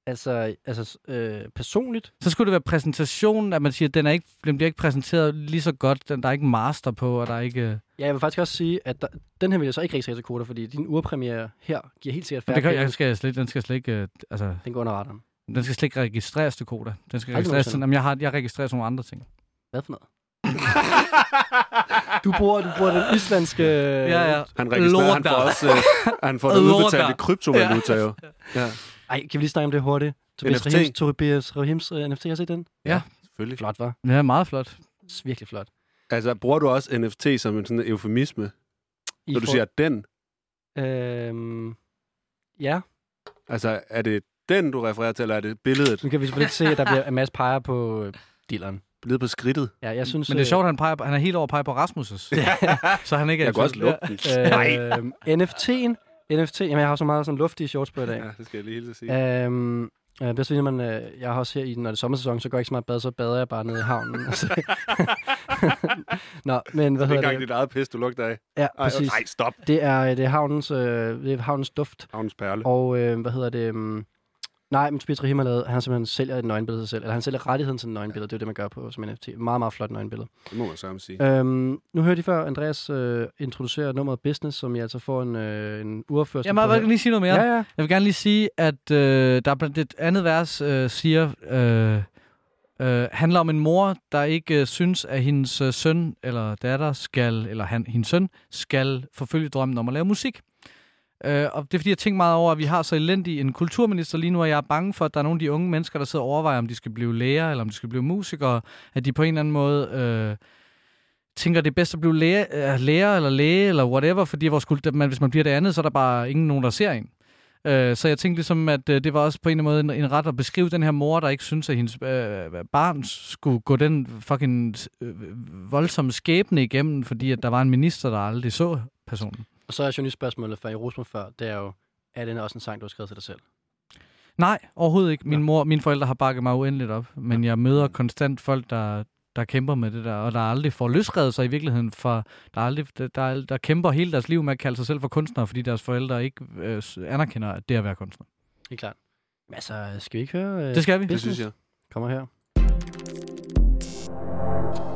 altså, altså øh, personligt,
Så skulle det være præsentationen, at man siger, at den, er ikke, den bliver ikke præsenteret lige så godt. Den, der er ikke master på, og der er ikke... øh,
ja, jeg vil faktisk også sige, at der, den her vil jeg så ikke rigtig sætte til kvoter, fordi din urpremiere her giver helt sikkert færre
Det kan,
penge.
jeg skal slet, den skal slet ikke... øh, Altså,
Den går under radaren.
den skal slet ikke registreres til koda. Den skal
Aldrig
registreres til...
nogensinde.
Jamen, jeg, har, jeg registrerer sådan nogle andre ting.
Hvad for noget? du, bruger, du bruger den islandske...
<laughs>
Øh,
Ja, ja.
den. <laughs> Han registrerer, han
Lorter.
får også øh, han får det
Lorter.
udbetalt i kryptovaluta. Jo. Ja,
Ej, kan vi lige snakke om det hurtigt? Tobias
NFT.
Rahims, Tobias Rahims uh, NFT, har I set den?
selvfølgelig.
Flot, var.
Ja, meget flot.
Virkelig flot.
Altså, bruger du også NFT som en sådan en eufemisme,
I
når du siger den?
Øhm, ja,
Altså, er det den, du refererer til, eller er det billedet?
nu kan vi selvfølgelig ikke se, at der bliver en masse peger på øh, dealeren.
Billedet på skridtet?
Ja, jeg synes... øh,
Men det er sjovt, at han, peger, på- han er helt over at pege på Rasmus'. så han ikke er
Jeg kan
i tvivl.
også lukke den.
Øh, øhm, NFT'en... NFT, jamen jeg har så meget sådan luftige shorts på i dag.
Ja, det skal jeg lige hilse at sige.
Ja. Øhm, øh, bedst fordi, når man, øh, jeg har også her i, når det er sommersæson, så går jeg ikke så meget bad, så bader jeg bare nede i
<laughs>
havnen. og så- <laughs> Nå, men hvad
Det
hedder
er engang
det?
dit eget pis, du lugter af.
Ja,
Ej,
præcis.
ej, stop.
Det er, det er, havnens, øh, det er havnens duft.
Havnens perle.
Og øh, hvad hedder det? Um, nej, men Tobias Rahim har lavet, han simpelthen sælger et nøgenbillede af sig selv. Eller han sælger rettigheden til et nøgenbillede. Det er jo det, man gør på som NFT. Meget, meget flot nøgenbillede.
Det må man sammen sige.
Øhm, nu hørte I før Andreas øh, introducere nummeret Business, som jeg altså får en, øh, en urførsel
Jeg må jeg
på
vil lige sige noget mere.
her. Ja, ja.
Jeg vil gerne lige sige, at øh, der er blandt det andet vers øh, siger, øh, øh, handler om en mor, der ikke øh, synes, at hendes øh, søn eller datter skal, eller han, hendes søn, skal forfølge drømmen om at lave musik. Øh, og det er fordi, jeg tænker meget over, at vi har så elendig en kulturminister lige nu, og jeg er bange for, at der er nogle af de unge mennesker, der sidder og overvejer, om de skal blive læger, eller om de skal blive musikere, at de på en eller anden måde... Øh, tænker, det er bedst at blive læge, øh, lærer eller læge eller whatever, fordi vores kult, man, hvis man bliver det andet, så er der bare ingen nogen, der ser en. Øh, så jeg tænkte ligesom, at øh, det var også på en eller anden måde en, en ret at beskrive den her mor, der ikke synes, at hendes øh, barn skulle gå den fucking øh, voldsomme skæbne igennem, fordi at der var en minister, der aldrig så personen.
Og så er journalistspørgsmålet fra I roste mig før. Det er jo, er den også en sang, du har skrevet til dig selv?
Nej, overhovedet ikke. Min mor, mine forældre har bakket mig uendeligt op, men jeg møder konstant folk, der der kæmper med det der, og der aldrig får løsredet sig i virkeligheden, for der, aldrig, der, der, der kæmper hele deres liv med at kalde sig selv for kunstnere, fordi deres forældre ikke øh, s- anerkender, at det er at være kunstner.
Helt klart. Men altså, skal vi ikke høre... Øh,
Det skal vi.
Det
business?
synes jeg.
Kommer her.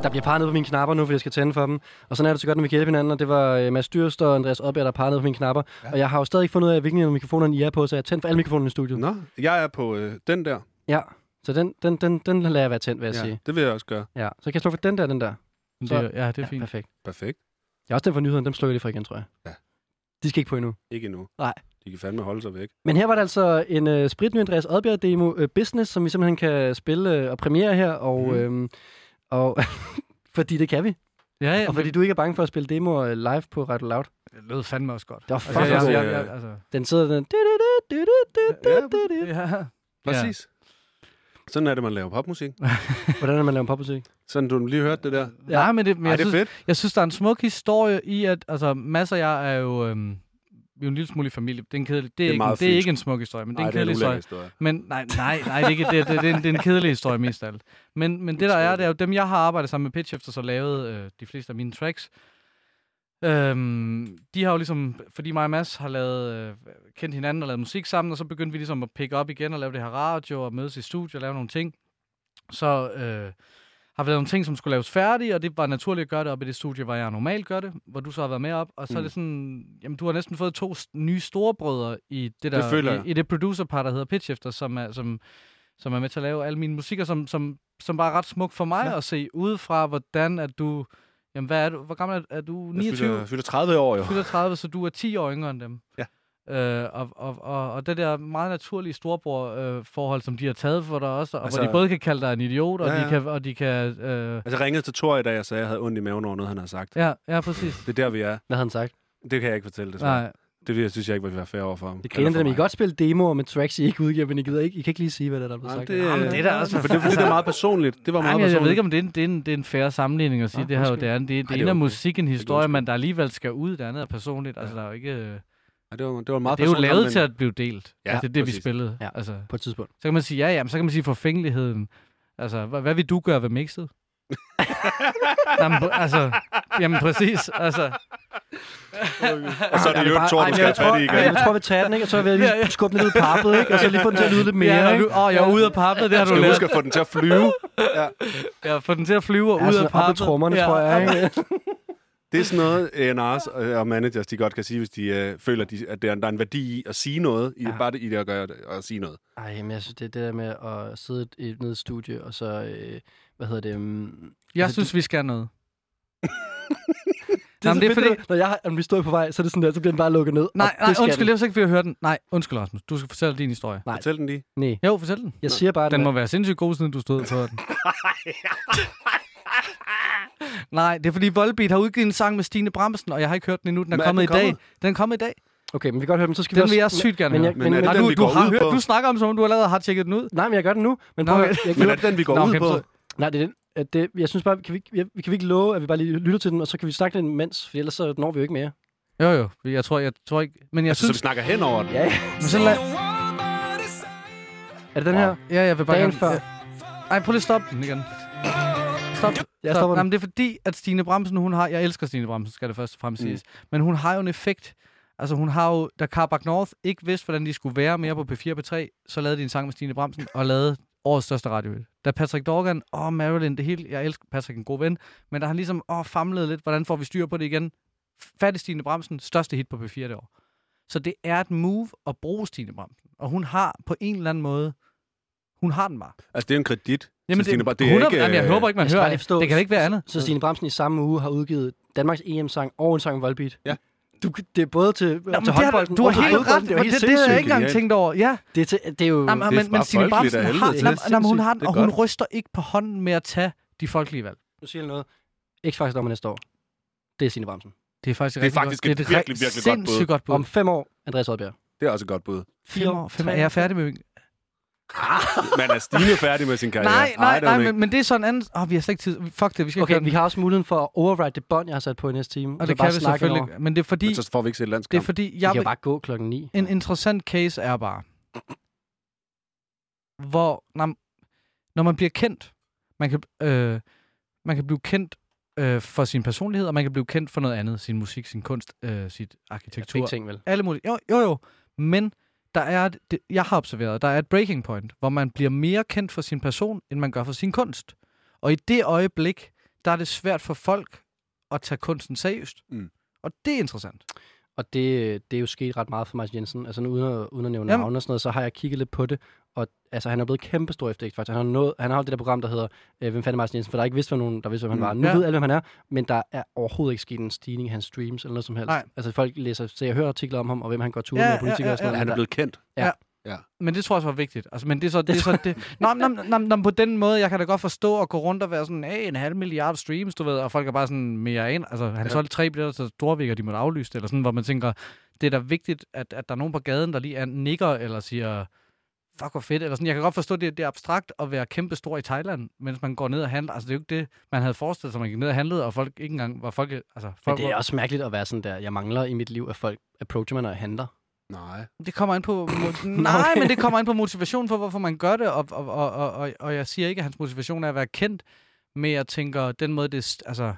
Der bliver parret ned på mine knapper nu, fordi jeg skal tænde for dem. Og sådan er det så godt, når vi kan hjælpe hinanden, og det var øh, Mads Dyrst og Andreas Oddbjerg, der parrede ned på mine knapper. Ja. Og jeg har jo stadig ikke fundet ud af, hvilken af mikrofonerne I er på, så jeg har tændt for alle mikrofonerne i studiet.
Nå, jeg er på øh, den der.
Ja, så den, den, den, den lader jeg være tændt, vil jeg ja. sige.
det vil jeg også gøre.
Ja. Så kan jeg slå for den der den der.
Det,
Så-
ja, det er fint.
perfekt.
Perfekt.
Jeg har også den for nyhederne, dem slukker jeg lige for igen, tror jeg.
Ja.
De skal ikke på endnu.
Ikke endnu.
Nej.
De De kan fandme holde sig væk.
Men her var der altså en øh, spritny Andreas Oddbjerg demo, øh, Business, som vi simpelthen kan spille øh, og premiere her, og,
Mhm.
øhm, og <laughs> fordi det kan vi.
Ja, ja,
Og fordi du ikke er bange for at spille demoer øh, live på Radio Loud.
det lød fandme også godt.
Det var
Altså,
fucking
Okay,
jeg,
altså,
ja,
jeg,
ja.
jeg, altså,
Den sidder den...
ja.
Præcis. Sådan er det, man laver popmusik.
Hvordan er man laver popmusik?
Sådan, du lige hørte det der.
Ja. Nej, men det, men
Ej,
jeg,
det er
synes,
fedt.
jeg synes, der er en smuk historie i, at altså, masser af jeg er jo, øhm, vi er jo en lille smule i familie. Det er, en kedelig,
er
det er, det er, ikke,
meget
det er
fynsk.
ikke en smuk historie, men det er
Ej,
en kedelig
ulækker
historie.
historie.
Men nej, nej, nej, det er, ikke, det, det, det, er en, det er en kedelig historie mest af alt. Men, men det der er, det er jo dem, jeg har arbejdet sammen med Pitchhifters og lavet øh, de fleste af mine tracks. Øhm, de har jo ligesom, fordi mig og Mads har lavet, øh, kendt hinanden og lavet musik sammen, og så begyndte vi ligesom at pick op igen og lave det her radio og mødes i studiet og lave nogle ting. Så øh, har vi lavet nogle ting, som skulle laves færdige, og det var naturligt at gøre det op i det studie, hvor jeg normalt gør det, hvor du så har været med op. Og så mm. er
Mm.
det sådan, jamen du har næsten fået to st- nye storebrødre i det der,
Det føler jeg.
i, i det producerpar, der hedder Pitchhifter, som er, som, som er med til at lave alle mine musikker, som, som, som bare er ret smuk for mig ja. at se udefra, hvordan at du, jamen hvad er du, hvor gammel er, er du?
Jeg
29?
fylder, fylder 30 år, jo.
fylder 30, så du er 10 år yngre end dem.
Ja.
Øh, og, og, og, og det der meget naturlige storbror-forhold, øh, forhold, som de har taget for dig også, og altså, hvor
Altså-
de både kan kalde dig en idiot, og
Ja,
ja, ja. de
ja.
kan... Og de kan øh,
Altså, jeg ringede til Thor i dag og sagde, at jeg havde ondt i maven over noget, han havde sagt.
ja, ja, præcis.
Det er der, vi er.
Hvad havde han sagt?
Det kan jeg ikke fortælle, desværre.
Nej,
Det vil jeg synes jeg ikke, vil være fair over for ham.
Det griner
Eller
dem.
for
I
mig.
kan godt spille demoer med tracks, I ikke udgiver, men I, gider ikke, I kan ikke lige sige, hvad der er der er blevet
Nej,
sagt.
det,
Jamen, det er da også-
for det, det, det er meget personligt. Det var meget
Ej, men jeg, jeg ved
personligt.
ikke, om det er en, det er en, det er en fair sammenligning at sige,
Ah,
det her jo
undskyld.
det andet. Det, det,
det
det
er
ene er
okay.
musik, en historie,
undskyld.
men der alligevel skal ud, det andet er personligt. Altså, der er jo ikke... øh,
Ej, det, var, det var meget
det er jo
personligt,
lavet
men- <laughs>
til at blive delt.
Ja,
Ja, altså, det er det, vi
præcis.
spillede.
Ja.
Ja. Altså,
På et tidspunkt.
så kan man sige, ja, ja, men så kan man sige forfængeligheden. Altså, hvad, hvad vil du gøre ved mixet? jamen, pr- altså, jamen, præcis. Altså,
Og så er det jo ikke Thor, du skal have fat i
jeg,
igen.
jeg tror, vi tager den, ikke? Og så vil jeg
Ja, ja.
lige skubbe den ud i pappet, ikke? Og så lige få den til at lyde lidt mere,
ja,
ikke?
du, åh, jeg er ude af pappet, det har
Du
du
skal
lært.
huske at få den til at flyve.
Ja, få den til at flyve og
Ja,
ud
sådan
af
op i
pappet.
trommerne, tror jeg,
<laughs>
ikke?
Det er sådan noget, A&R's og og managers, de godt kan sige, hvis de øh, føler, de, at der er, der er en værdi i at sige noget. I,
Ja.
Bare det, i det at gøre det, at sige noget.
Ej, men jeg synes, det er det der med at sidde i- nede i et studie, og så, øh, hvad hedder det? Um,
Jeg synes, vi skal noget.
<laughs> det er,
Jamen, det er
fordi...
fordi-
når jeg har en historie på vej, så er det sådan der, så bliver den bare lukket ned.
Nej,
og
nej,
det skal
undskyld,
den.
jeg var så ikke, vi har hørt den. Nej, undskyld, Rasmus, du skal fortælle din historie.
Nej.
Fortæl den lige.
Nej,
Jo, fortæl den.
jeg siger bare,
Den
den
må være sindssygt god, siden du stod for den. <laughs> Nej, det er fordi Volbeat har udgivet en sang med Stine Bramsen, og jeg har ikke hørt den endnu. Den er,
Men er
kommet
den
i dag.
kommet?
Den er kommet i dag.
Okay, men vi kan godt høre dem, så skal vi
Den
også...
vil jeg sygt gerne
men
høre.
jeg,
Men
men,
er
men,
det
Og
den,
du,
vi
du
går
har
ud
hørt,
på?
du snakker om, som om du allerede har tjekket den ud.
Nej, men jeg gør det nu. Men
Nå,
prøv, at-
okay.
jeg,
Men
jeg,
er det den, vi går
Nå,
ud
okay,
på?
så-
nej, det er den. At det, jeg synes bare, kan vi, ikke- jeg, vi kan vi ikke love, at vi bare lige lytter til den, og så kan vi snakke den imens, for ellers så når vi jo ikke mere.
Jo, jo. Jeg tror, jeg tror ikke... Men jeg
Altså, så vi
synes...
snakker hen over den.
Ja, ja.
Men så lad...
Er det den her?
Ja, jeg vil bare
Dagen
gerne...
før.
Ej, prøv lige at stoppe den igen. Stop.
Jeg
Stop.
stopper den.
Jamen, det er fordi, at Stine Bramsen, hun har... Jeg elsker Stine Bramsen, skal det først og
Mm.
fremmest siges. Men hun har jo en effekt. Altså, hun har jo... Da Carbac North ikke vidste, hvordan de skulle være mere på P4 og P3, så lavede de en sang med Stine Bramsen og lavede årets største radiohit. Da Patrick Dorgan og Marilyn, det hele... Jeg elsker Patrick, en god ven. Men der har han ligesom åh, famlet lidt, hvordan får vi styr på det igen? Fat i Stine Bramsen, største hit på P4 det år. Så det er et move at bruge Stine Bramsen. Og hun har på en eller anden måde... Hun har den bare.
Altså, det er jo en kredit.
Jamen,
til Stine Bar-
det, 100,
øh,
jamen, jeg håber ikke, man
jeg skal
hører
bare lige
det.
forstå-
Det kan da ikke være andet.
Så Stine Bramsen i samme uge har udgivet Danmarks EM-sang og en sang om Volbeat.
Ja.
Du, det er både til,
Nå,
til
men det har,
håndbolden
du har
og til
helt
fodbolden.
ret.
Det er jo
men
helt
det, det, har jeg
sindssygt.
ikke engang
genialt.
tænkt over. Ja,
Det er, til, det er jo...
nej, nej,
det er
men, men
bare
Stine
folkeligt
Bramsen
af
har,
helvede
til.
nej, nej, men hun
Sindssygt.
har den,
Det er
og hun
godt.
ryster ikke på hånden med at tage de folkelige valg.
Nu siger jeg noget. X-Factor nummer næste år. Det er Stine Bramsen.
Det er faktisk,
Det er faktisk
godt.
et
re-
virkelig, virkelig godt bud.
sindssygt godt bud.
Om fem år, Andreas Oddbjerg.
Det er også et godt bud.
fire år, fem år. Er jeg færdig med min-
Men er Stine færdig med sin karriere?
Nej, nej,
det er
nej,
hun
men, men det er sådan en anden... Åh, vi har slet ikke tid. Fuck det, vi skal ikke
Okay,
høre
vi
den.
har også muligheden for at override det bånd, jeg har sat på i næste time.
Og
så
det
bare
kan vi
snakke
selvfølgelig.
henover.
ikke. Men det er fordi,
Men så får vi ikke set
det er
landskamp.
fordi
Vi
jeg
kan
vil,
jo bare gå klokken ni.
en interessant case er bare, hvor når, når man bliver kendt, man kan, øh, man kan blive kendt øh, for sin personlighed, og man kan blive kendt for noget andet, sin musik, sin kunst, øh, sit arkitektur,
Begge ting, vel?
alle mulige. Jo, jo, jo. Men der er, et, det, jeg har observeret, der er et breaking point, hvor man bliver mere kendt for sin person, end man gør for sin kunst. Og i det øjeblik, der er det svært for folk at tage kunsten seriøst.
Mm.
Og det er interessant.
Og det, det er jo sket ret meget for Martin Jensen. Altså nu, uden at, uden at nævne
Jamen.
navne og sådan noget, så har jeg kigget lidt på det. Og altså, han er blevet kæmpestor efter X-Factor. Han har, nået, han har holdt det der program, der hedder øh, Hvem fanden er Martin Jensen? For der er ikke vidst, hvem nogen, der vidste, hvem han
Mm.
var. Nu
Ja.
ved alle, hvem han er, men der er overhovedet ikke sket en stigning i hans streams eller noget som helst.
Nej.
Altså folk læser, så jeg hører artikler om ham, og hvem han går tur
Ja,
med,
ja,
og politikere og sådan
ja,
noget.
Han
men
er
der-
blevet kendt.
Men det tror jeg også var vigtigt. Altså, men det er så... Det er så det. Nå, nå, nå, nå, på den måde, jeg kan da godt forstå at gå rundt og være sådan, hey, en halv milliard streams, du ved, og folk er bare sådan mere ind. Altså, han ja. solgte tre billetter til Storvik, og de måtte aflyse det, eller sådan, hvor man tænker, det er da vigtigt, at, at der er nogen på gaden, der lige er, nikker eller siger, fuck hvor fedt, eller sådan. Jeg kan godt forstå, det, det er abstrakt at være kæmpe stor i Thailand, mens man går ned og handler. Altså, det er jo ikke det, man havde forestillet sig, man gik ned og handlede, og folk ikke engang var folk... Altså,
Men
folk
det er
var-
også mærkeligt at være sådan der, jeg mangler i mit liv, at folk approacher mig, når jeg handler.
Nej.
Det kommer ind
<laughs>
på... mo- Nej,
okay.
men det kommer ind på motivation for, hvorfor man gør det, og, og, og, og, og, og jeg siger ikke, at hans motivation er at være kendt, men jeg tænker, den måde, det er st- altså,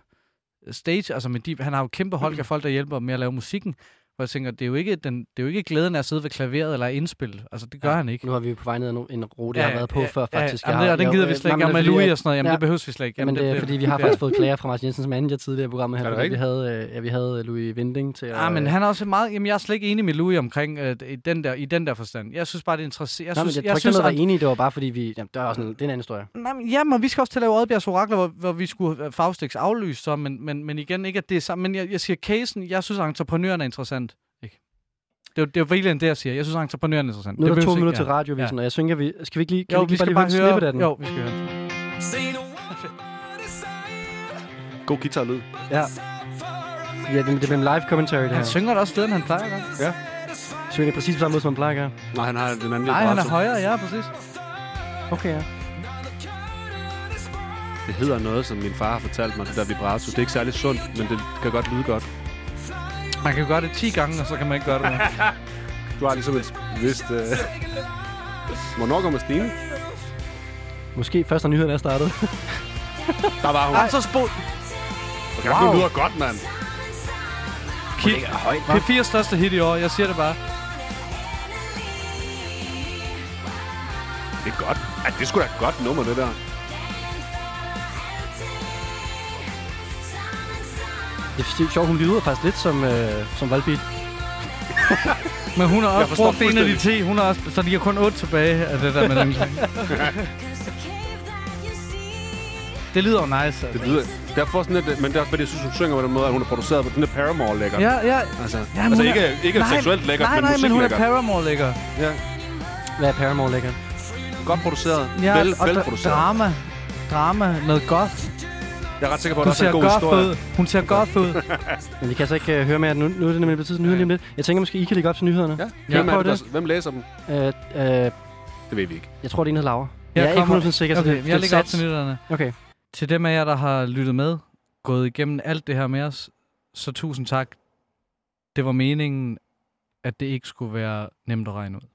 stage, altså med de, han har jo et kæmpe hold af folk, der hjælper med at lave musikken, hvor jeg tænker, det er jo ikke, den, det er jo ikke glæden af at sidde ved klaveret eller indspille, altså det gør ja, han ikke.
Nu har vi jo på vej ned ad en rute, jeg har været på før, faktisk. Jeg
Ja, jamen, det,
har-
og den
jeg-
gider vi
øh,
slet
nej,
ikke.
men det
Jamen,
er fordi,
Louis
jeg-
og sådan noget, jamen,
Ja.
det behøves vi slet ikke.
Jamen, det, er, fordi vi har
det- <laughs>
faktisk fået klager fra Martin Jensen, som anden jeg tidligere i programmet her,
Er det
fordi vi
rigtigt?
havde, øh, ja, vi havde Louis Vinding til at...
Ja, Ah, men han er også meget... Jamen, jeg er slet ikke enig med Louis omkring øh, i, den der, i den der forstand. Jeg synes bare, det er interessant. Jeg
Nå, men
synes,
jeg, tror ikke,
jeg
der
synes,
er
at
noget, der er enige, det var bare fordi vi... Jamen, der er også en, det er en anden historie.
Nej, men, ja, men vi skal også til at lave Oddbjergs Orakler, hvor, hvor vi skulle øh, Faustix aflyse så, men, men, men igen ikke, at det er samme. Men jeg, jeg siger casen, jeg synes, at entreprenøren er interessant. Ikke? Det er jo- det er jo virkelig det, jeg siger. Jeg synes, at entreprenøren er interessant.
Nu er
det
der to
behøves ikke-
minutter til radiovisen, og jeg synes, at vi... Skal vi ikke lige, kan vi
Jo,
ikke
vi skal
lige
bare
bare lige høre slippet
høre...
af den?
Jo, vi skal høre.
God guitarlyd.
Ja. Ja, det, det bliver en live commentary, det
Han
her.
synger da også bedre, end han plejer, ikke?
Ja.
Synger det præcis på samme måde, som man plejer at gøre.
Nej, han har den anden
Nej, han er
vibrato.
højere, ja, præcis.
Okay, ja.
Det hedder noget, som min far har fortalt mig, det der vibrato. Det er ikke særlig sundt, men det kan godt lyde godt.
Man kan jo gøre det 10 gange, og så kan man ikke <laughs> gøre det mere.
Du har ligesom et vist... Øh... Hvornår kommer Stine?
Måske først, når nyhederne er startet. <laughs>
Der var hun.
Ej, så spol...
Okay, wow. Det lyder godt, mand.
Kig. Det fire største hit i år, jeg siger det bare.
Det er godt. Ja, det er sgu da et godt nummer, det der.
Det er sjovt, hun lyder faktisk lidt som, øh, som Volbeat.
Men hun har også
forstår
brugt en af de
fuldstændig.
10, hun har også, så de har kun 8 tilbage af det der med den. Det lyder jo nice, altså.
Det lyder... Der får sådan lidt... Men det er også fordi, jeg synes, hun synger på den måde, at hun er produceret på den der Paramore lækker.
Ja, ja.
Altså,
ja
altså
hun
ikke, ikke
nej,
seksuelt lækker,
nej,
men
nej,
musik
men hun
lækker.
er Paramore-lækker.
ja.
Hvad er Paramore lækker?
Godt produceret.
Ja,
vel,
og
vel
dra-
produceret.
drama. Drama. Noget goth.
Jeg er ret sikker på, at
Hun
der også er en
ser
god
goth
historie.
ud. Hun ser goth
<laughs>
ud.
Men vi kan altså ikke øh, høre mere nu. Nu er det nemlig blevet tid til nyhederne lige om lidt. Jeg tænker måske, I kan lægge op til nyhederne.
Ja.
Ja,
Hvem, er
prøv
det, der, hvem læser dem?
Øh, øh,
Det ved vi ikke.
jeg tror, det er en hedder Laura. Jeg,
Jeg
er ikke 100%
kommer-
sikker, så
Okay,
det,
jeg
det
lægger op
sats.
til nyhederne.
Okay.
Til dem af jer, der har lyttet med, gået igennem alt det her med os, så tusind tak. Det var meningen, at det ikke skulle være nemt at regne ud.